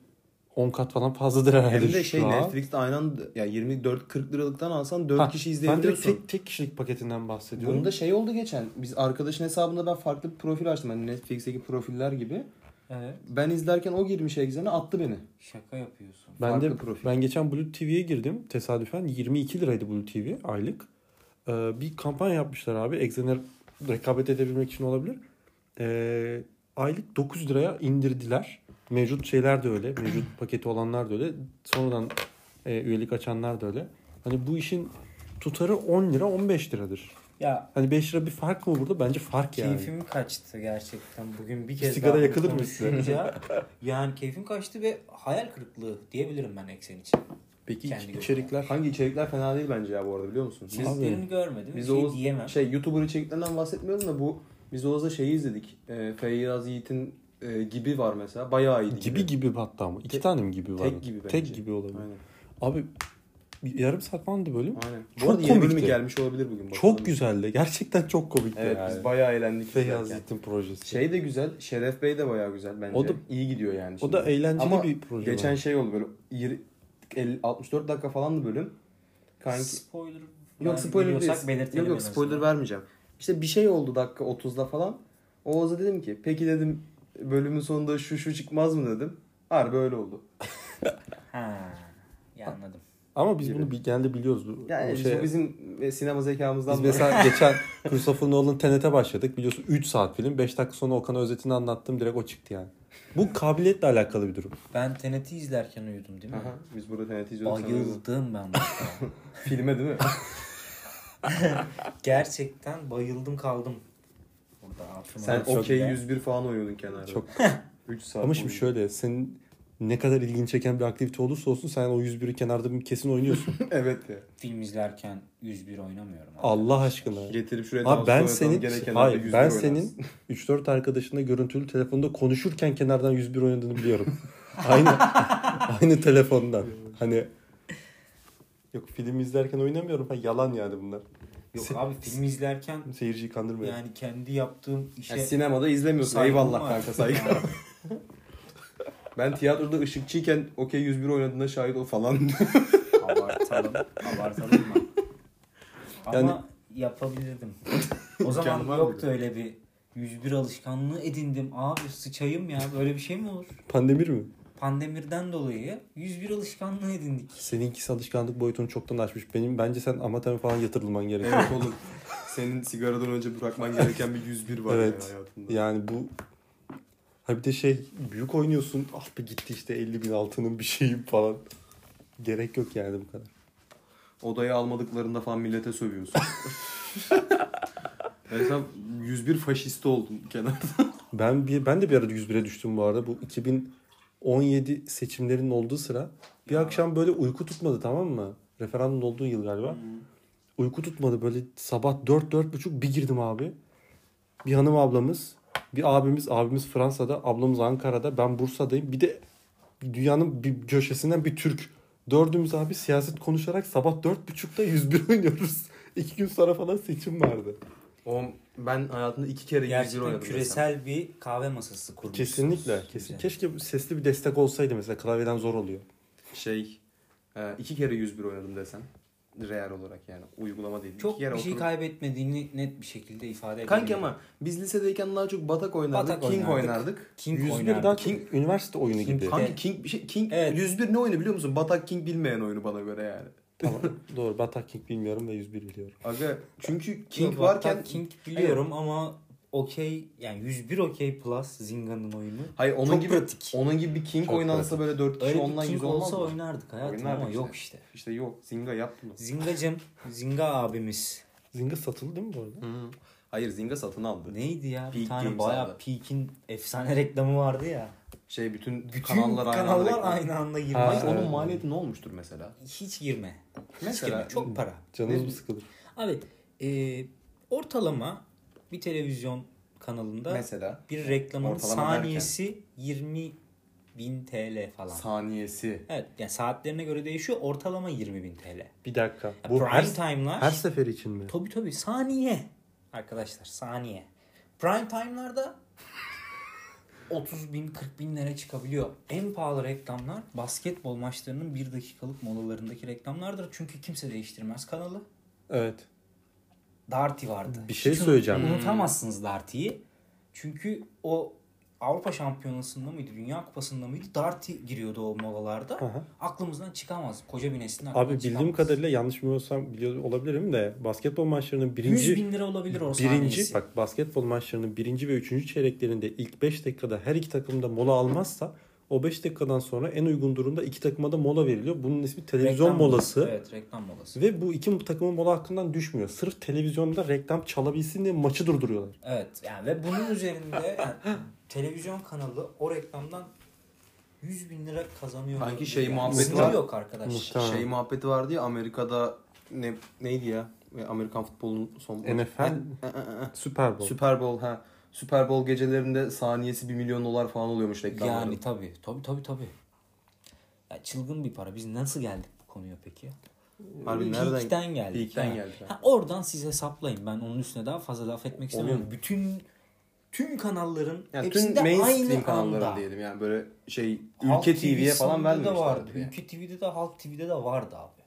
Speaker 2: 10 kat falan fazladır herhalde.
Speaker 1: Hem de
Speaker 2: şu
Speaker 1: şey
Speaker 2: an.
Speaker 1: Netflix'te aynı anda ya 24-40 liralıktan alsan 4
Speaker 2: Ha,
Speaker 1: kişi
Speaker 2: Ben direkt
Speaker 1: izleyebiliyorsun.
Speaker 2: tek, tek kişilik paketinden bahsediyorum.
Speaker 1: Bunda şey oldu geçen. Biz arkadaşın hesabında ben farklı bir profil açtım. Hani Netflix'teki profiller gibi.
Speaker 3: Evet.
Speaker 1: Ben izlerken o girmiş egzene attı beni.
Speaker 4: Şaka yapıyorsun.
Speaker 2: Ben de
Speaker 1: farklı profil.
Speaker 2: ben geçen Blue TV'ye girdim. Tesadüfen 22 liraydı Blue TV aylık. Ee, bir kampanya yapmışlar abi. Exener rekabet edebilmek için olabilir. Ee, aylık 9 liraya indirdiler. Mevcut şeyler de öyle. Mevcut paketi olanlar da öyle. Sonradan e, üyelik açanlar da öyle. Hani bu işin tutarı 10 lira 15 liradır.
Speaker 3: Ya
Speaker 2: Hani 5 lira bir fark mı burada? Bence fark yani.
Speaker 3: keyfim kaçtı gerçekten bugün bir kez
Speaker 2: Sigara
Speaker 3: daha
Speaker 2: yakılır mı
Speaker 3: bunu
Speaker 2: size?
Speaker 3: konuşunca. yani keyfim kaçtı ve hayal kırıklığı diyebilirim ben eksen için.
Speaker 2: Peki
Speaker 3: Kendi
Speaker 2: iç-
Speaker 3: gözüme.
Speaker 2: içerikler
Speaker 1: Hangi içerikler fena değil bence ya bu arada biliyor musun? Biz,
Speaker 3: Çizgilerini görmedim.
Speaker 1: biz
Speaker 3: şey
Speaker 1: Oğuz,
Speaker 3: diyemem.
Speaker 1: şey YouTuber içeriklerinden bahsetmiyorum da bu biz Oğuz'la şeyi izledik. E, Feyyaz Yiğit'in e, gibi var mesela. Bayağı iyiydi.
Speaker 2: gibi gibi hatta mı? İki
Speaker 1: Tek-
Speaker 2: tane mi gibi var?
Speaker 1: Tek gibi bence.
Speaker 2: Tek gibi olabilir.
Speaker 1: Aynen.
Speaker 2: Abi yarım saat falan da bölüm.
Speaker 1: Aynen. Bu
Speaker 2: Çok
Speaker 1: arada yeni bölümü
Speaker 2: komikti.
Speaker 1: gelmiş olabilir bugün. bakalım.
Speaker 2: Çok güzeldi. Gerçekten çok komikti.
Speaker 1: Evet
Speaker 2: yani.
Speaker 1: biz bayağı eğlendik.
Speaker 2: Feyyaz
Speaker 1: izlerken.
Speaker 2: Yiğit'in projesi.
Speaker 1: Şey de güzel. Şeref Bey de bayağı güzel bence.
Speaker 2: O da-
Speaker 1: iyi gidiyor yani.
Speaker 2: o da
Speaker 1: şimdi.
Speaker 2: eğlenceli
Speaker 1: Ama
Speaker 2: bir proje.
Speaker 1: Geçen şey oldu böyle yir- elli- 64 dakika falan da bölüm. Kanki
Speaker 3: Spoiler
Speaker 1: yok
Speaker 3: yani
Speaker 1: spoiler
Speaker 3: biliyorsak
Speaker 1: değil.
Speaker 3: belirtelim
Speaker 1: Yok yok
Speaker 3: en
Speaker 1: spoiler
Speaker 3: azından.
Speaker 1: vermeyeceğim. İşte bir şey oldu dakika 30'da falan. Oğuz'a dedim ki peki dedim bölümün sonunda şu şu çıkmaz mı dedim. Harbi öyle oldu.
Speaker 3: Ha. Ya anladım.
Speaker 2: Ama biz
Speaker 1: gibi.
Speaker 2: bunu bir, genelde biliyoruz. Bu,
Speaker 1: Yani
Speaker 2: bu
Speaker 1: biz-
Speaker 2: şey,
Speaker 1: bu
Speaker 2: biz,
Speaker 1: bizim e, sinema zekamızdan dolayı.
Speaker 2: mesela geçen Christopher Nolan Tenet'e başladık. Biliyorsun 3 saat film. 5 dakika sonra Okan özetini anlattım. Direkt o çıktı yani. Bu kabiliyetle alakalı bir durum.
Speaker 3: Ben Tenet'i izlerken uyudum değil mi?
Speaker 1: Aha, biz burada TNT izliyorduk. sana dedim.
Speaker 3: Bayıldım ben. başta.
Speaker 1: Filme değil mi?
Speaker 3: Gerçekten bayıldım kaldım. Burada altıma
Speaker 1: Sen
Speaker 3: bakıyorum
Speaker 1: okey
Speaker 3: ya.
Speaker 1: 101 falan oynuyordun kenarda.
Speaker 2: Çok.
Speaker 1: 3 saat.
Speaker 2: Ama şimdi
Speaker 1: boyunca.
Speaker 2: şöyle senin ne kadar ilgini çeken bir aktivite olursa olsun sen o 101'i kenarda bir kesin oynuyorsun.
Speaker 1: evet ya.
Speaker 3: film izlerken 101 oynamıyorum.
Speaker 2: Allah aşkına.
Speaker 1: Getirip şuraya
Speaker 2: Abi ben senin
Speaker 1: gereken
Speaker 2: hayır ben senin 3-4 arkadaşınla görüntülü telefonda konuşurken kenardan 101 oynadığını biliyorum. aynı aynı telefondan. Hani yok film izlerken oynamıyorum. Ha, yalan yani bunlar.
Speaker 3: Yok abi film izlerken
Speaker 2: Seyirciyi kandırmayalım.
Speaker 3: yani kendi yaptığım işe
Speaker 1: Ya sinemada izlemiyorsun.
Speaker 3: saygım
Speaker 1: Eyvallah
Speaker 3: var.
Speaker 1: kanka saygı. ben tiyatroda ışıkçıyken okey 101 oynadığına şahit ol falan.
Speaker 3: abartalım. abartalım mı? Ama
Speaker 2: Yani-
Speaker 3: yapabilirdim. O zaman
Speaker 1: İmkanı var
Speaker 3: yoktu
Speaker 1: mıydı?
Speaker 3: öyle bir 101 alışkanlığı edindim. Abi sıçayım ya böyle bir şey mi olur?
Speaker 2: Pandemir mi?
Speaker 3: Pandemirden dolayı 101 alışkanlığı edindik.
Speaker 2: Seninkisi alışkanlık boyutunu çoktan aşmış. Benim bence sen amatör falan yatırılman gerekiyor.
Speaker 1: evet oğlum. Senin sigaradan önce bırakman gereken bir 101 var
Speaker 2: Evet.
Speaker 1: ya hayatında.
Speaker 2: Yani bu ha bir de şey büyük oynuyorsun. Ah be gitti işte 50 bin altının bir şeyi falan. Gerek yok yani bu kadar.
Speaker 1: Odaya almadıklarında falan millete sövüyorsun. Mesela 101 faşisti oldun kenarda.
Speaker 2: Ben bir ben de bir ara 101'e düştüm bu arada. Bu 2017 seçimlerinin olduğu sıra bir akşam böyle uyku tutmadı tamam mı? Referandum olduğu yıl galiba. Uyku tutmadı böyle sabah 4 4.30 bir girdim abi. Bir hanım ablamız, bir abimiz, abimiz Fransa'da, ablamız Ankara'da, ben Bursa'dayım. Bir de dünyanın bir köşesinden bir Türk. Dördümüz abi siyaset konuşarak sabah 4.30'da 101 oynuyoruz. İki gün sonra falan seçim vardı.
Speaker 1: Oğlum ben hayatımda iki kere 101
Speaker 3: Gerçekten
Speaker 1: oynadım.
Speaker 3: küresel bir kahve masası kurmuşsunuz.
Speaker 2: Kesinlikle. Kesin.
Speaker 3: Güzel.
Speaker 2: Keşke sesli bir destek olsaydı mesela klavyeden zor oluyor.
Speaker 1: mesela. Şey e, iki kere 101 oynadım desen. Real olarak yani uygulama değil.
Speaker 3: Çok
Speaker 1: iki kere
Speaker 3: bir şey
Speaker 1: oturup-
Speaker 3: kaybetmediğini net bir şekilde ifade
Speaker 1: Kanki
Speaker 3: edebilirim.
Speaker 1: ama biz lisedeyken daha çok batak oynardık,
Speaker 3: Batak
Speaker 1: king
Speaker 3: oynardık.
Speaker 1: oynardık.
Speaker 3: King
Speaker 2: 101
Speaker 3: oynardık.
Speaker 2: daha King, üniversite oyunu
Speaker 3: King
Speaker 2: gibi.
Speaker 3: Kong.
Speaker 1: Kanki
Speaker 3: Evet.
Speaker 1: king bir şey king
Speaker 3: Evet.
Speaker 1: 101 ne oyunu biliyor musun? Batak king bilmeyen oyunu bana göre yani.
Speaker 2: tamam. Doğru. Batak King bilmiyorum ve 101 biliyorum.
Speaker 1: Aga çünkü king
Speaker 3: King
Speaker 1: varken
Speaker 3: King biliyorum ama okey yani 101 okey plus Zinga'nın oyunu.
Speaker 1: Hayır onun
Speaker 3: Çok
Speaker 1: gibi
Speaker 3: pratik.
Speaker 1: onun gibi bir king
Speaker 2: Çok
Speaker 1: oynansa böyle 4 kişi
Speaker 3: Öyle
Speaker 1: ondan
Speaker 3: bir King
Speaker 1: 100 olmaz
Speaker 3: olsa
Speaker 1: mı?
Speaker 3: oynardık hayatım
Speaker 1: Oynardık
Speaker 3: ama
Speaker 1: işte.
Speaker 3: yok işte.
Speaker 1: İşte yok Zinga yaptı mı?
Speaker 3: Zinga'cım, Zinga abimiz.
Speaker 2: Zinga satıldı değil mi bu arada?
Speaker 1: Hayır Zinga satın aldı.
Speaker 3: Neydi ya?
Speaker 1: Peak
Speaker 3: bir tane
Speaker 1: Games
Speaker 3: bayağı
Speaker 1: abi.
Speaker 3: Peak'in efsane reklamı vardı ya.
Speaker 1: Şey bütün,
Speaker 3: Bütün
Speaker 1: kanallar aynı anda reklam.
Speaker 3: aynı anda girme.
Speaker 1: Hayır,
Speaker 2: Ha,
Speaker 1: onun
Speaker 2: evet.
Speaker 1: maliyeti ne olmuştur mesela?
Speaker 3: Hiç girme. Hiç
Speaker 1: Mesela-
Speaker 3: girme. Çok para.
Speaker 2: Canınız mı sıkılır?
Speaker 3: Abi e, ortalama bir televizyon kanalında
Speaker 1: Mesela
Speaker 3: bir reklamın
Speaker 1: Ortalama derken?
Speaker 3: saniyesi 20 bin TL falan.
Speaker 1: Saniyesi.
Speaker 3: evet yani saatlerine göre değişiyor. Ortalama 20 bin TL.
Speaker 2: Bir dakika.
Speaker 3: Ya
Speaker 2: Bu
Speaker 3: prime
Speaker 2: her,
Speaker 3: time'lar.
Speaker 2: her sefer için mi?
Speaker 3: Tabii tabii saniye. Arkadaşlar saniye. Prime time'larda 30 bin 40 binlere çıkabiliyor. En pahalı reklamlar basketbol maçlarının 1 dakikalık molalarındaki reklamlardır. Çünkü kimse değiştirmez kanalı.
Speaker 2: Evet.
Speaker 3: Darty vardı.
Speaker 2: Bir şey
Speaker 3: Hiç
Speaker 2: söyleyeceğim.
Speaker 3: unut- Unutamazsınız Darty'yi. Çünkü o Avrupa Şampiyonası'nda mıydı, Dünya Kupası'nda mıydı? Darty giriyordu o molalarda.
Speaker 2: Aha.
Speaker 3: Aklımızdan çıkamaz. Koca bir neslin aklından
Speaker 2: Abi bildiğim
Speaker 3: çıkamaz.
Speaker 2: kadarıyla yanlış bilmiyorsam biliyor olabilirim de basketbol maçlarının
Speaker 3: 100
Speaker 2: birinci
Speaker 3: bin lira olabilir o saniyesi.
Speaker 2: birinci bak basketbol maçlarının birinci ve üçüncü çeyreklerinde ilk 5 dakikada her iki takımda mola almazsa o 5 dakikadan sonra en uygun durumda iki takıma da mola veriliyor. Bunun ismi televizyon
Speaker 3: Reklam
Speaker 2: molası.
Speaker 3: Evet reklam molası.
Speaker 2: Ve bu iki takımın mola hakkından düşmüyor. Sırf televizyonda reklam çalabilsin diye maçı durduruyorlar.
Speaker 3: Evet yani ve bunun üzerinde yani televizyon kanalı o reklamdan 100 bin lira kazanıyor.
Speaker 1: Sanki şey muhabbeti
Speaker 3: Sınırı
Speaker 1: var.
Speaker 3: yok arkadaş.
Speaker 2: Muhtemelen. Tamam.
Speaker 1: Şey muhabbeti vardı ya Amerika'da ne neydi ya? E, Amerikan futbolunun son
Speaker 2: NFL
Speaker 1: E, e, e.
Speaker 2: Süper Bowl.
Speaker 1: Super Bowl ha. Super Bowl gecelerinde saniyesi 1 milyon dolar falan oluyormuş reklamların.
Speaker 3: Yani tabii tabii tabii tabii. Ya çılgın bir para. Biz nasıl geldik bu konuya peki?
Speaker 1: Harbi nereden?
Speaker 3: Geek'ten geldik.
Speaker 1: Geek'ten
Speaker 3: Ha.
Speaker 1: Ee, geldik.
Speaker 3: Ha, oradan siz hesaplayın. Ben onun üstüne daha fazla laf etmek istemiyorum. Bütün tüm kanalların
Speaker 1: Yani
Speaker 3: hepsi
Speaker 1: tüm
Speaker 3: de
Speaker 1: mainstream
Speaker 3: aynı
Speaker 1: kanallara
Speaker 3: anda.
Speaker 1: diyelim yani böyle şey
Speaker 3: Halk
Speaker 1: ülke TV'ye falan
Speaker 3: TV'sinde de vardı.
Speaker 1: vermemişlerdi. Yani.
Speaker 3: Ülke TV'de de Halk TV'de de vardı abi.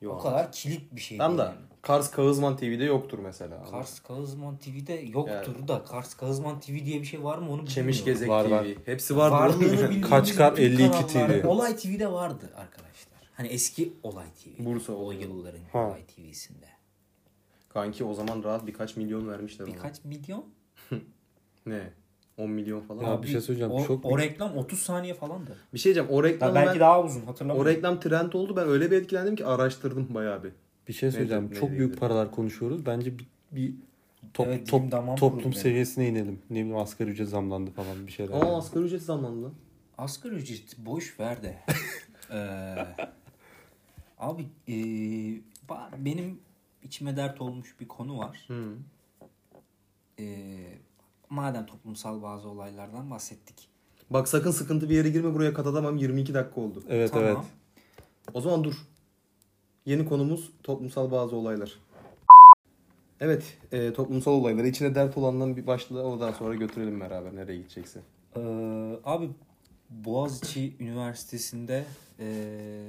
Speaker 1: Yok.
Speaker 3: O kadar kilit bir şey.
Speaker 1: Tam
Speaker 3: değil
Speaker 1: da
Speaker 3: yani.
Speaker 1: Kars Kağızman TV'de yoktur mesela.
Speaker 3: Kars Kağızman TV'de yoktur da Kars Kağızman TV diye bir şey var mı onu
Speaker 1: Çemiş
Speaker 3: bilmiyorum.
Speaker 1: Gezek
Speaker 2: Var,
Speaker 1: TV.
Speaker 2: var.
Speaker 1: Hepsi vardı.
Speaker 3: Varlığını bildiğimiz
Speaker 2: Kaçkar
Speaker 3: bütün
Speaker 2: 52 TV.
Speaker 3: kanallar- Olay TV'de vardı arkadaşlar. Hani eski Olay TV.
Speaker 1: Bursa
Speaker 3: o
Speaker 1: Olay.
Speaker 3: yılların
Speaker 2: Ha.
Speaker 3: Olay TV'sinde.
Speaker 1: Kanki o zaman rahat birkaç milyon vermişler ona.
Speaker 3: Birkaç milyon.
Speaker 1: Ne? 10 milyon falan.
Speaker 2: Ya bir şey söyleyeceğim.
Speaker 3: O,
Speaker 2: Çok
Speaker 3: o reklam 30 saniye falandı.
Speaker 1: Bir şey diyeceğim. O reklam
Speaker 3: Ya belki
Speaker 1: ben-
Speaker 3: daha uzun
Speaker 1: o
Speaker 3: hatırlamıyorum.
Speaker 1: reklam trend oldu. Ben öyle bir etkilendim ki araştırdım bayağı bir.
Speaker 2: bir şey söyleyeceğim.
Speaker 1: Nedir,
Speaker 2: Çok
Speaker 1: nedir?
Speaker 2: büyük paralar konuşuyoruz. Bence bir, bir top,
Speaker 3: Evet,
Speaker 2: top-
Speaker 3: dilim damağım
Speaker 2: toplum
Speaker 3: kuruldu.
Speaker 2: seviyesine inelim. Ne bileyim asgari ücret zamlandı falan bir şeyler.
Speaker 1: Aa asgari ücret zamlandı. lan.
Speaker 3: Asgari ücret boş ver de. Ee, abi ee, ba- benim içime dert olmuş bir konu var.
Speaker 1: Hı.
Speaker 3: Ee, madem toplumsal bazı olaylardan bahsettik.
Speaker 1: Bak sakın sıkıntı bir yere girme buraya kat adamam 22 dakika oldu.
Speaker 2: Evet
Speaker 3: Tamam.
Speaker 2: evet.
Speaker 1: O zaman dur. Yeni konumuz toplumsal bazı olaylar. Evet, e, toplumsal olayları içine dert olandan bir başla oradan sonra götürelim beraber nereye gidecekse.
Speaker 3: Ee, abi Boğaziçi Üniversitesi'nde ee,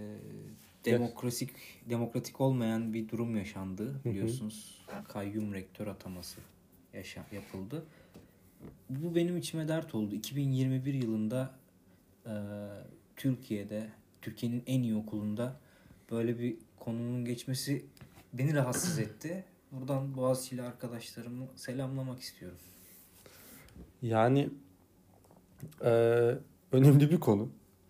Speaker 3: demokratik demokratik olmayan bir durum yaşandı biliyorsunuz. Kayyum rektör ataması yaşa yapıldı. Bu benim içime dert oldu. 2021 yılında ee, Türkiye'de Türkiye'nin en iyi okulunda böyle bir konunun geçmesi beni rahatsız etti. Buradan Boğaziçi'li arkadaşlarımı selamlamak istiyorum.
Speaker 2: Yani e, önemli bir konu.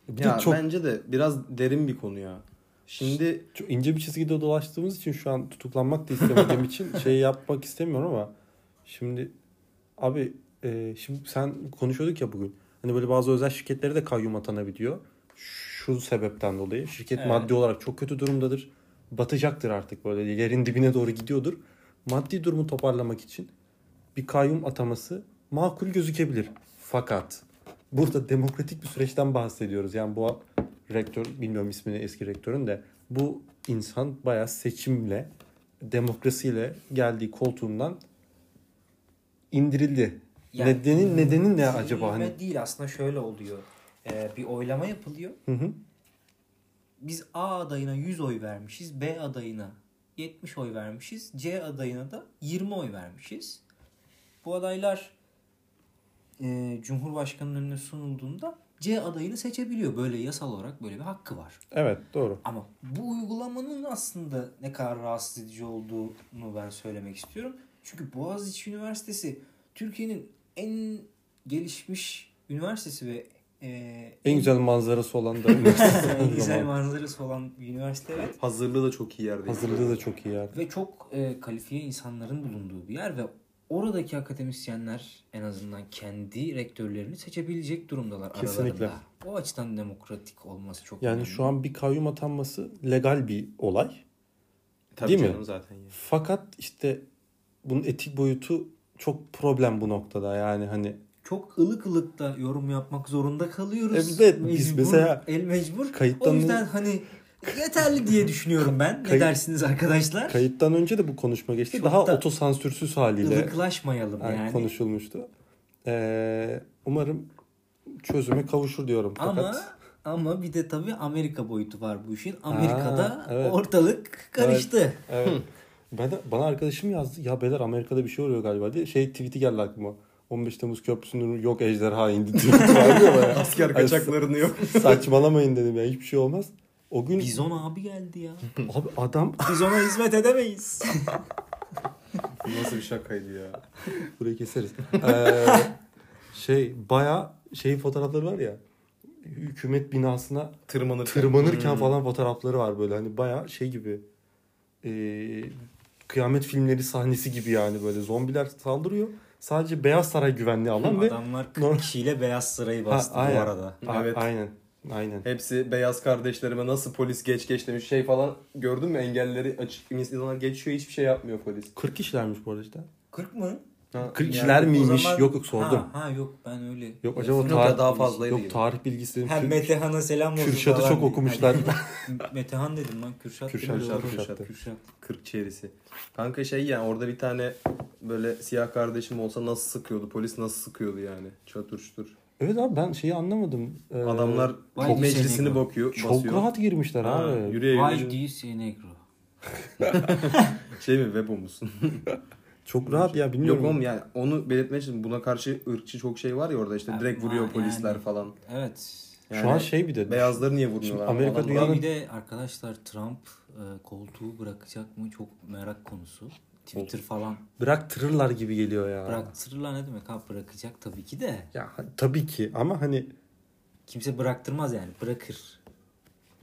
Speaker 2: Bir
Speaker 1: ya
Speaker 2: de çok,
Speaker 1: bence de biraz derin bir konu ya. Şimdi
Speaker 2: çok ince bir çizgide dolaştığımız için şu an tutuklanmak da istemediğim için şey yapmak istemiyorum ama şimdi abi e, şimdi sen konuşuyorduk ya bugün. Hani böyle bazı özel şirketlere de kayyum atanabiliyor. Şu sebepten dolayı şirket
Speaker 3: Evet.
Speaker 2: maddi olarak çok kötü durumdadır. Batacaktır artık böyle yerin dibine doğru gidiyordur. Maddi durumu toparlamak için bir kayyum ataması makul gözükebilir. Fakat burada demokratik bir süreçten bahsediyoruz. Yani bu rektör bilmiyorum ismini eski rektörün de bu insan bayağı seçimle demokrasiyle geldiği koltuğundan indirildi.
Speaker 3: Yani
Speaker 2: nedeni nedeni ne
Speaker 3: indirilme
Speaker 2: acaba hani?
Speaker 3: değil aslında şöyle oluyor. Ee, bir oylama yapılıyor.
Speaker 2: Hı hı.
Speaker 3: Biz A adayına 100 oy vermişiz. B adayına 70 oy vermişiz. C adayına da 20 oy vermişiz. Bu adaylar e, Cumhurbaşkanı'nın önüne sunulduğunda C adayını seçebiliyor. Böyle yasal olarak böyle bir hakkı var.
Speaker 2: Evet doğru.
Speaker 3: Ama bu uygulamanın aslında ne kadar rahatsız edici olduğunu ben söylemek istiyorum. Çünkü Boğaziçi Üniversitesi Türkiye'nin en gelişmiş üniversitesi ve e,
Speaker 2: En güzel manzarası olan da üniversite
Speaker 3: en güzel
Speaker 2: zaman.
Speaker 3: manzarası olan bir üniversite evet.
Speaker 1: hazırlığı da çok iyi yerde.
Speaker 2: Hazırlığı da çok iyi yani.
Speaker 3: Ve çok e, kalifiye insanların bulunduğu bir yer ve oradaki akademisyenler en azından kendi rektörlerini seçebilecek durumdalar
Speaker 2: Kesinlikle.
Speaker 3: aralarında. O açıdan demokratik olması çok
Speaker 2: Yani
Speaker 3: önemli.
Speaker 2: şu an bir kayyum atanması legal bir olay.
Speaker 1: Tabii
Speaker 2: Değil mi?
Speaker 1: canım zaten ya.
Speaker 2: Fakat işte bunun etik boyutu çok problem bu noktada. Yani hani
Speaker 5: çok ılık ılık da yorum yapmak zorunda kalıyoruz.
Speaker 2: Evet, biz mesela
Speaker 5: El mecbur.
Speaker 2: kayıttan-
Speaker 5: O yüzden hani yeterli diye düşünüyorum ben. Ne
Speaker 2: Kayıt-
Speaker 5: dersiniz arkadaşlar?
Speaker 2: Kayıttan önce de bu konuşma geçti.
Speaker 5: Şu
Speaker 2: Daha
Speaker 5: anda
Speaker 2: otosansürsüz haliyle
Speaker 5: Ilıklaşmayalım
Speaker 2: yani
Speaker 5: yani.
Speaker 2: konuşulmuştu. Ee, umarım çözüme kavuşur diyorum.
Speaker 5: Ama
Speaker 2: Fakat
Speaker 5: ama bir de tabii Amerika boyutu var bu işin. Amerika'da
Speaker 2: evet.
Speaker 5: ortalık karıştı.
Speaker 2: evet, ben de, bana arkadaşım yazdı. Ya beyler Amerika'da bir şey oluyor galiba diye. Şey tweet'i geldi aklıma. 15 Temmuz Köprüsü'nün yok ejderha indi. tweet'i var ya bayağı.
Speaker 1: Asker
Speaker 2: Ay,
Speaker 1: kaçaklarını yok.
Speaker 2: Saçmalamayın dedim ya hiçbir şey olmaz. O gün
Speaker 5: Bizon abi geldi ya.
Speaker 2: abi adam
Speaker 5: Biz ona hizmet edemeyiz.
Speaker 1: Nasıl bir şakaydı ya.
Speaker 2: burayı keseriz. Ee, şey baya şey fotoğrafları var ya hükümet binasına
Speaker 1: Tırmanır.
Speaker 2: tırmanırken falan fotoğrafları var böyle hani baya şey gibi ee, kıyamet filmleri sahnesi gibi yani böyle zombiler saldırıyor. Sadece Beyaz Saray güvenliği alan ve
Speaker 5: Adamlar
Speaker 2: Normal-
Speaker 5: 40 kişiyle Beyaz Sarayı bastı
Speaker 2: Ha, aynen.
Speaker 5: bu arada.
Speaker 2: A-
Speaker 1: Evet.
Speaker 2: Aynen. Aynen.
Speaker 1: Hepsi beyaz kardeşlerime nasıl polis geç geç demiş şey falan gördün mü engelleri açık insanlar geçiyor hiçbir şey yapmıyor polis.
Speaker 2: 40 kişilermiş bu arada işte.
Speaker 5: 40 mı?
Speaker 2: 40 kişiler
Speaker 5: O
Speaker 2: miymiş?
Speaker 5: zaman-
Speaker 2: Yok yok sordum.
Speaker 5: Ha, ha yok ben öyle.
Speaker 2: Yok acaba
Speaker 1: ya,
Speaker 2: tarih
Speaker 1: daha fazlaydı
Speaker 2: Yok
Speaker 1: gibi.
Speaker 2: tarih bilgisi dedim.
Speaker 5: Hem
Speaker 2: Türk-
Speaker 5: Metehan'a selam olsun.
Speaker 2: Kürşat'ı
Speaker 5: falan
Speaker 2: çok
Speaker 5: diye.
Speaker 2: okumuşlar.
Speaker 5: Hani- Metehan dedim lan Kürşat. dedim.
Speaker 2: Kürşat,
Speaker 5: Doğru.
Speaker 2: Kürşat'tı.
Speaker 5: Kürşat.
Speaker 1: 40 çerisi. Kanka şey yani orada bir tane böyle siyah kardeşim olsa nasıl sıkıyordu polis nasıl sıkıyordu yani çatır çutur.
Speaker 2: Evet abi ben şeyi anlamadım. Ee,
Speaker 1: Adamlar
Speaker 5: vay
Speaker 1: çok
Speaker 5: bir şey
Speaker 1: meclisini
Speaker 5: ne-
Speaker 1: bakıyor
Speaker 2: çok
Speaker 1: basıyor.
Speaker 2: rahat girmişler
Speaker 1: Ha,
Speaker 2: abi.
Speaker 1: yürüye
Speaker 3: Why
Speaker 1: yürüye.
Speaker 3: DC Negro?
Speaker 1: Şey mi Webo musun?
Speaker 2: Çok rahat ya bilmiyorum.
Speaker 1: Yok oğlum yani onu belirtmek için buna karşı ırkçı çok şey var ya orada işte direkt
Speaker 3: Ama
Speaker 1: vuruyor polisler
Speaker 3: yani-
Speaker 1: falan.
Speaker 3: Evet.
Speaker 1: Yani
Speaker 2: Şu an şey bir de.
Speaker 1: beyazları niye vurmuyorlar?
Speaker 2: Şimdi Amerika
Speaker 1: Adamlar-
Speaker 2: dünyanın-
Speaker 3: Bir de arkadaşlar Trump e, koltuğu bırakacak mı çok merak konusu. Twitter falan
Speaker 2: Bıraktırırlar gibi geliyor ya.
Speaker 3: bıraktırırlar ne demek ha bırakacak tabii ki de.
Speaker 2: Ya tabii ki ama hani
Speaker 3: Kimse bıraktırmaz yani bırakır.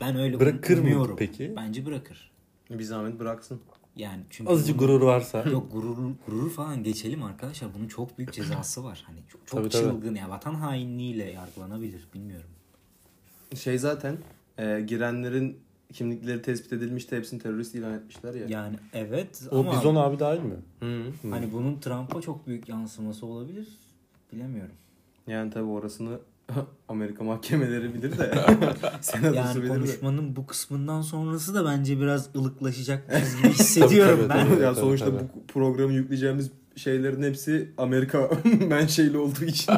Speaker 3: Ben öyle
Speaker 2: Bırakır mı
Speaker 3: umuyorum.
Speaker 2: peki?
Speaker 3: Bence bırakır.
Speaker 1: Bir zahmet bıraksın.
Speaker 3: Yani çünkü
Speaker 2: azıcık
Speaker 3: bunun-
Speaker 2: gurur varsa.
Speaker 3: Yok gurur, gurur falan geçelim arkadaşlar. Bunun çok büyük cezası var. Hani çok, çok
Speaker 2: Tabii, tabii.
Speaker 3: çılgın ya vatan hainliğiyle yargılanabilir bilmiyorum.
Speaker 1: Şey zaten e, girenlerin kimlikleri tespit edilmişti hepsini terörist ilan etmişler ya.
Speaker 3: Yani evet
Speaker 2: O
Speaker 3: ama
Speaker 2: Bizon abi dahil mi?
Speaker 1: Hı.
Speaker 3: hani bunun Trump'a çok büyük yansıması olabilir. Bilemiyorum.
Speaker 1: Yani tabii orasını Amerika mahkemeleri bilir de senatosu
Speaker 3: Yani
Speaker 1: bilir de.
Speaker 3: konuşmanın bu kısmından sonrası da bence biraz ılıklaşacak gibi hissediyorum
Speaker 2: Tabii,
Speaker 3: ben.
Speaker 2: tabii,
Speaker 1: ya
Speaker 2: Evet,
Speaker 1: sonuçta
Speaker 2: tabii,
Speaker 1: bu programı yükleyeceğimiz şeylerin hepsi Amerika menşeli olduğu için.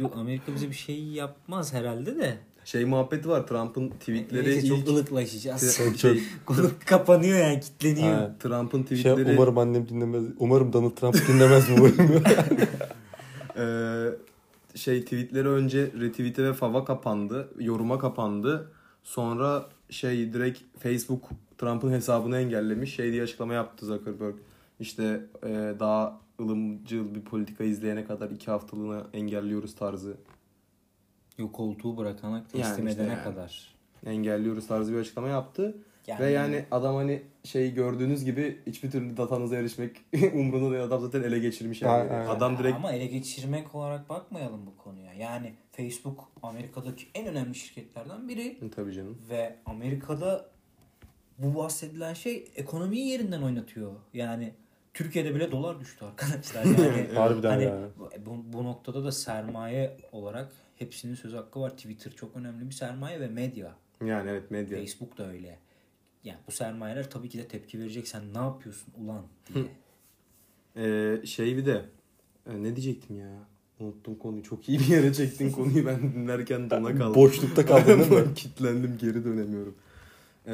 Speaker 3: Yok Amerika bize bir şey yapmaz herhalde de.
Speaker 1: şey muhabbeti var Trump'ın tweetleri
Speaker 3: Neyse çok
Speaker 1: ilk-
Speaker 3: ılıklaşacağız.
Speaker 1: şey,
Speaker 3: Konu kapanıyor yani kitleniyor.
Speaker 2: Ha.
Speaker 1: Trump'ın
Speaker 2: Şey,
Speaker 1: tweetleri
Speaker 2: umarım annem dinlemez. Umarım Donald Trump dinlemez bu bölümü.
Speaker 1: Ee, şey tweetleri önce retweet'e ve fav'a kapandı. Yoruma kapandı. Sonra şey direkt Facebook Trump'ın hesabını engellemiş. Şey diye açıklama yaptı Zuckerberg. İşte e, daha ılımcıl bir politika izleyene kadar iki haftalığına engelliyoruz tarzı.
Speaker 3: Yok koltuğu bırakana teslim
Speaker 1: Yani işte
Speaker 3: edene
Speaker 1: yani.
Speaker 3: kadar.
Speaker 1: Engelliyoruz tarzı bir açıklama yaptı.
Speaker 3: Yani-
Speaker 1: Ve yani adam hani şey gördüğünüz gibi hiçbir türlü datanıza erişmek umrunda değil. Adam zaten ele geçirmiş yani.
Speaker 2: Aynen.
Speaker 1: Adam direkt
Speaker 3: Ama ele geçirmek olarak bakmayalım bu konuya. Yani Facebook Amerika'daki en önemli şirketlerden biri
Speaker 1: tabii canım.
Speaker 3: ve Amerika'da bu bahsedilen şey ekonomiyi yerinden oynatıyor. Yani Türkiye'de bile dolar düştü arkadaşlar. Yani
Speaker 2: Harbiden
Speaker 3: hani
Speaker 2: ya.
Speaker 3: bu, bu noktada da sermaye olarak hepsinin söz hakkı var. Twitter çok önemli bir sermaye ve medya.
Speaker 1: Yani evet medya.
Speaker 3: Facebook da öyle. Yani bu sermayeler tabii ki de tepki verecek. Sen ne yapıyorsun ulan diye.
Speaker 1: Ee, şey bir de e, ne diyecektim ya? Unuttum konuyu. Çok iyi bir yere çektin konuyu. Ben dinlerken dona kaldım.
Speaker 2: Boşlukta kaldın değil mi?
Speaker 1: Kitlendim geri dönemiyorum. Ee,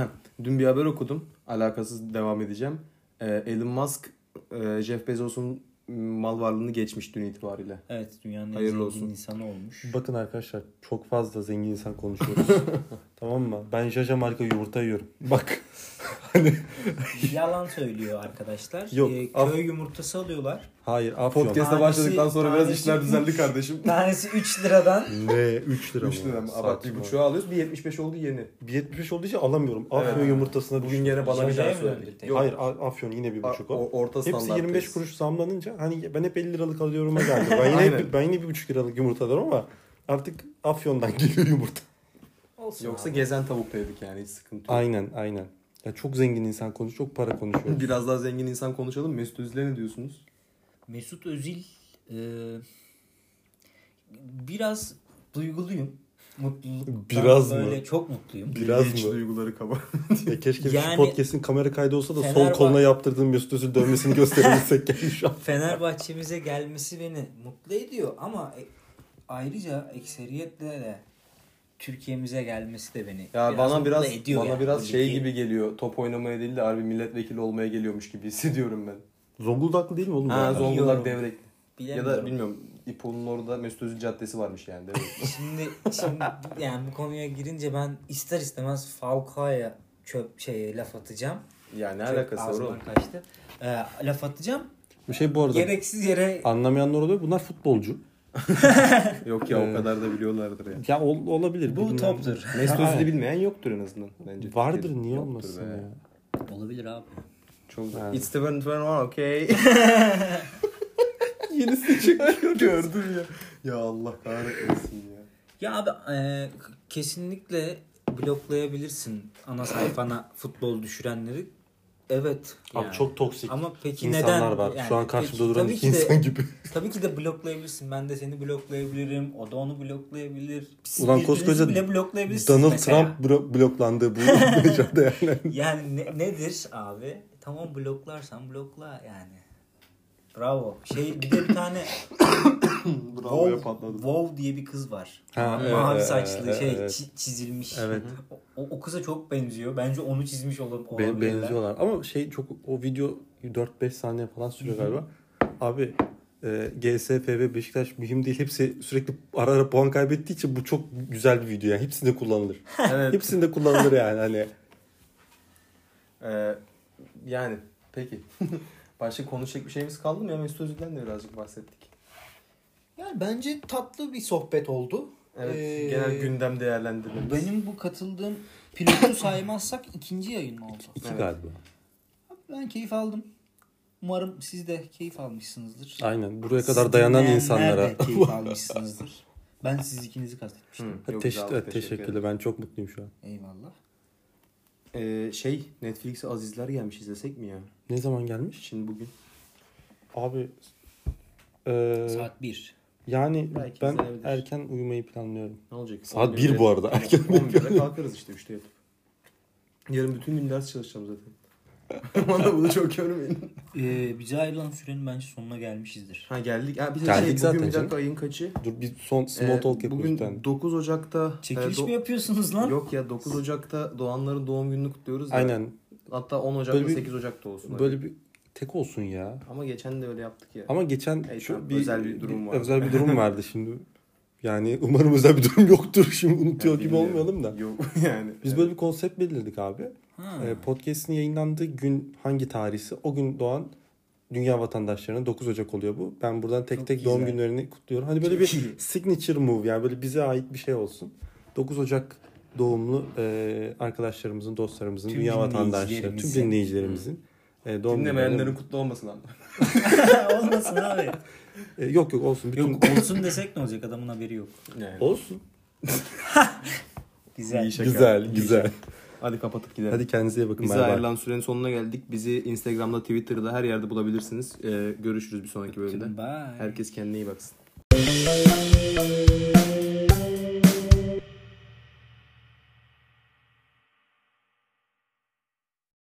Speaker 1: heh, dün bir haber okudum. Alakasız devam edeceğim. Ee, Elon Musk e, Jeff Bezos'un mal varlığını geçmiş dün itibariyle.
Speaker 3: Evet dünyanın en
Speaker 1: Hayırlı
Speaker 3: zengin
Speaker 1: olsun.
Speaker 3: insanı olmuş.
Speaker 2: Bakın arkadaşlar çok fazla zengin insan konuşuyoruz. tamam mı? Ben Jaja marka yumurta yiyorum. Bak. hani
Speaker 3: Yalan söylüyor arkadaşlar.
Speaker 2: Yok,
Speaker 3: Ee, köy
Speaker 2: af-
Speaker 3: yumurtası alıyorlar.
Speaker 2: hayır afyon.
Speaker 1: Podcast'a
Speaker 3: Tanesi-
Speaker 1: başladıktan sonra biraz
Speaker 3: tanesi
Speaker 1: işler düzeldi
Speaker 3: üç.
Speaker 1: kardeşim.
Speaker 3: Tanesi 3 liradan.
Speaker 2: Ne? 3 lira mı?
Speaker 1: 3 lira mı?
Speaker 2: Saçma.
Speaker 1: Abart bir buçuğa alıyoruz. Bir 75 oldu yeni.
Speaker 2: Bir 75 olduğu için alamıyorum. Afyon
Speaker 1: Evet.
Speaker 2: yumurtasına
Speaker 1: Bugün
Speaker 2: bugün
Speaker 1: gene bana bir
Speaker 3: Jaja'ya
Speaker 1: daha
Speaker 3: mı döndü
Speaker 1: söyledik.
Speaker 3: tekrar?
Speaker 1: Yok,
Speaker 2: Hayır A- afyon yine bir
Speaker 1: a-
Speaker 2: buçuk o.
Speaker 1: o- orta
Speaker 2: Hepsi 25
Speaker 1: standarttayız.
Speaker 2: kuruş zamlanınca hani ben hep 50 liralık alıyorum'a geldi. Ben yine
Speaker 1: Aynen.
Speaker 2: ben yine bir buçuk liralık yumurta alırım ama artık afyondan geliyor yumurta.
Speaker 3: Olsun
Speaker 1: Yoksa
Speaker 3: abi.
Speaker 1: gezen tavuktaydık yani hiç sıkıntı yok.
Speaker 2: Aynen aynen. Ya çok zengin insan konuş, çok para konuşuyoruz.
Speaker 1: Biraz daha zengin insan konuşalım. Mesut Özil'e ne diyorsunuz?
Speaker 3: Mesut Özil Ee, biraz duyguluyum. Mutluluktan
Speaker 2: Biraz mı?
Speaker 3: böyle çok mutluyum.
Speaker 2: Biraz
Speaker 1: Hiç
Speaker 2: mı?
Speaker 1: duyguları kaba.
Speaker 2: Ya keşke
Speaker 3: Yani-
Speaker 2: şu podcast'in kamera kaydı olsa da sol
Speaker 3: Fenerbahçe-
Speaker 2: koluna yaptırdığım Mesut Özil dövmesini gösterebilsek yani şu an.
Speaker 3: Fenerbahçemize gelmesi beni mutlu ediyor ama e- ayrıca ekseriyetle de Türkiye'mize gelmesi de beni
Speaker 1: Ya bana
Speaker 3: mutlu
Speaker 1: biraz
Speaker 3: ediyor
Speaker 1: bana
Speaker 3: yani.
Speaker 1: biraz
Speaker 3: Tabii
Speaker 1: şey
Speaker 3: ki.
Speaker 1: gibi geliyor. Top oynamaya değil de harbi milletvekili olmaya geliyormuş gibi hissediyorum ben.
Speaker 2: Zonguldaklı değil mi oğlum?
Speaker 1: Ha
Speaker 2: zaten?
Speaker 1: Zonguldak Devrek. Ya
Speaker 3: Bilemiyorum.
Speaker 1: da bilmiyorum. İpo'nun orada Mesut Özil Caddesi varmış yani. Devrek.
Speaker 3: Şimdi, şimdi yani bu konuya girince ben ister istemez Falcao'ya çöp şeye laf atacağım.
Speaker 1: ya ne
Speaker 3: Çok
Speaker 1: alakası var
Speaker 3: ağzımdan
Speaker 1: oğlum?
Speaker 3: kaçtı. Ee, laf atacağım.
Speaker 2: Bu şey bu arada
Speaker 3: Gereksiz yere
Speaker 2: anlamayanlar oluyor. Bunlar futbolcu.
Speaker 1: Yok ya
Speaker 2: Ee,
Speaker 1: o kadar da biliyorlardır ya.
Speaker 2: Ya ol- olabilir.
Speaker 3: bu
Speaker 2: bilmem.
Speaker 3: toptur.
Speaker 1: Mesut
Speaker 2: Ha,
Speaker 1: Özil'i
Speaker 2: evet.
Speaker 1: bilmeyen yoktur en azından bence.
Speaker 2: Vardır
Speaker 1: Türkiye'de.
Speaker 2: niye
Speaker 1: Yoktur
Speaker 2: olmasın
Speaker 1: be.
Speaker 2: ya.
Speaker 3: Olabilir abi.
Speaker 1: Çok
Speaker 2: Yani.
Speaker 1: It's the 21 okay.
Speaker 2: Yenisi çıkıyor.
Speaker 1: Gördüm ya. Ya Allah kahretmesin ya.
Speaker 3: Ya abi e, k- kesinlikle bloklayabilirsin ana sayfana futbol düşürenleri. Evet.
Speaker 2: Abi
Speaker 3: yani.
Speaker 2: çok toksik
Speaker 3: ama peki
Speaker 2: insanlar
Speaker 3: neden?
Speaker 2: var.
Speaker 3: Yani
Speaker 2: Şu an karşımda
Speaker 3: peki-
Speaker 2: duran
Speaker 3: tabii
Speaker 2: iki
Speaker 3: ki de-
Speaker 2: insan gibi.
Speaker 3: Tabii ki de bloklayabilirsin. Ben de seni bloklayabilirim. O da onu bloklayabilir. Siz
Speaker 2: Ulan
Speaker 3: birbirinizi
Speaker 2: koskoca
Speaker 3: bile bloklayabilirsiniz
Speaker 2: Donald
Speaker 3: mesela.
Speaker 2: Trump blo- bloklandı bu mecrada yani.
Speaker 3: Yani ne- nedir abi? Tamam bloklarsan blokla yani. Bravo. Şey bir de bir tane
Speaker 1: Bravo'ya
Speaker 3: wow,
Speaker 1: patladı.
Speaker 3: wow diye bir kız var.
Speaker 2: Ha, evet,
Speaker 3: Mavi
Speaker 2: evet,
Speaker 3: saçlı
Speaker 2: evet,
Speaker 3: şey
Speaker 2: evet.
Speaker 3: çi- çizilmiş.
Speaker 2: Evet.
Speaker 3: O, o kıza çok benziyor. Bence onu çizmiş ol-
Speaker 2: Be-
Speaker 3: olabilirler.
Speaker 2: benziyorlar. Ama şey çok o video 4-5 saniye falan sürüyor galiba. Abi e, GSPV Beşiktaş mühim değil. Hepsi sürekli ara ara puan kaybettiği için bu çok güzel bir video yani. Hepsinde kullanılır.
Speaker 1: Evet.
Speaker 2: Hepsinde kullanılır yani hani.
Speaker 1: Ee, yani peki. Başka konuşacak bir şeyimiz kaldı mı ya? Mesut Özil'den de birazcık bahsettik.
Speaker 3: Yani bence tatlı bir sohbet oldu.
Speaker 1: Evet.
Speaker 3: Ee,
Speaker 1: genel gündem değerlendirmemiz.
Speaker 3: Benim bu katıldığım pilotu saymazsak ikinci yayın mı oldu?
Speaker 2: İki
Speaker 1: Evet.
Speaker 2: galiba.
Speaker 3: Ben keyif aldım. Umarım siz de keyif almışsınızdır.
Speaker 2: Aynen. Buraya kadar dayanan
Speaker 3: Dinleyenler
Speaker 2: insanlara.
Speaker 3: de keyif almışsınızdır. Ben siz ikinizi
Speaker 1: Hı,
Speaker 3: kastetmiştim.
Speaker 2: Ha,
Speaker 1: yok,
Speaker 2: teş-
Speaker 1: sağ ol,
Speaker 2: evet,
Speaker 1: ederim.
Speaker 2: teşekkürler. Ben çok mutluyum şu an.
Speaker 3: Eyvallah.
Speaker 1: Ee, şey Netflix'e Azizler gelmiş izlesek mi ya?
Speaker 2: Ne zaman gelmiş?
Speaker 1: Şimdi bugün.
Speaker 2: Abi
Speaker 1: Ee,
Speaker 2: e,
Speaker 3: Saat 1.
Speaker 2: yani
Speaker 1: Belki
Speaker 2: ben
Speaker 1: izlenebilir.
Speaker 2: erken uyumayı planlıyorum.
Speaker 1: Ne olacak?
Speaker 2: Saat bir bu arada. Erken
Speaker 1: 11'de kalkarız işte 3'te yatıp. Yarın bütün gün ders çalışacağım zaten. Aman da bunu çok görmeyin.
Speaker 3: Ee, bize ayrılan sürenin bence sonuna gelmişizdir.
Speaker 1: Ha geldik. Ha, bir de
Speaker 2: Geldik
Speaker 1: şey,
Speaker 2: zaten
Speaker 1: bugün bir dakika
Speaker 2: canım.
Speaker 1: ayın kaçı?
Speaker 2: Dur bir son small
Speaker 1: Ee,
Speaker 2: talk yapıyoruz. bir tane.
Speaker 1: Bugün 9 Ocak'ta.
Speaker 3: Çekiliş
Speaker 1: e, do-
Speaker 3: mi yapıyorsunuz lan?
Speaker 1: Yok ya 9 Ocak'ta doğanların doğum gününü kutluyoruz da.
Speaker 2: Aynen.
Speaker 1: Hatta 10 Ocak'ta
Speaker 2: Böyle bir-
Speaker 1: 8 Ocak'ta olsun. Böyle...
Speaker 2: Böyle bir tek olsun ya.
Speaker 1: Ama geçen de öyle yaptık ya.
Speaker 2: Ama geçen
Speaker 1: Evet,
Speaker 2: şu
Speaker 1: tamam.
Speaker 2: bir
Speaker 1: Özel bir durum vardı.
Speaker 2: Özel bir durum vardı şimdi. Yani umarım özel bir durum yoktur. Şimdi unutuyor
Speaker 1: Yani
Speaker 2: gibi
Speaker 1: bilmiyorum.
Speaker 2: olmayalım da.
Speaker 1: Yok yani.
Speaker 2: Biz böyle bir konsept belirledik abi.
Speaker 3: Ha.
Speaker 2: Ee, Podcast'in yayınlandığı gün hangi tarihi? O gün doğan dünya vatandaşlarının 9 Ocak oluyor bu. Ben buradan tek
Speaker 3: Çok
Speaker 2: tek doğum
Speaker 3: güzel.
Speaker 2: günlerini kutluyorum. Hani böyle bir signature move yani böyle bize ait bir şey olsun. 9 Ocak doğumlu e, arkadaşlarımızın, dostlarımızın,
Speaker 3: Tüm
Speaker 2: dünya vatandaşları, tüm
Speaker 3: dinleyicilerimizin.
Speaker 2: dinleyicilerimizin e, doğum
Speaker 1: Dinlemeyenlerin
Speaker 2: günlerini-
Speaker 1: kutlu olmasın lan.
Speaker 3: Olmasın abi.
Speaker 2: E, yok yok olsun. Bütün
Speaker 3: Yok olsun desek ne olacak adamın haberi yok.
Speaker 1: Yani.
Speaker 2: Olsun.
Speaker 3: Güzel.
Speaker 1: İyi şaka.
Speaker 2: Güzel,
Speaker 1: İyi
Speaker 2: güzel.
Speaker 1: Hadi kapatıp gidelim.
Speaker 2: Hadi kendinize iyi bakın.
Speaker 1: Bize
Speaker 2: bay bay.
Speaker 1: ayrılan sürenin sonuna geldik. Bizi Instagram'da, Twitter'da her yerde bulabilirsiniz. Ee, görüşürüz bir sonraki bölümde.
Speaker 3: Bye.
Speaker 1: Herkes kendine iyi baksın.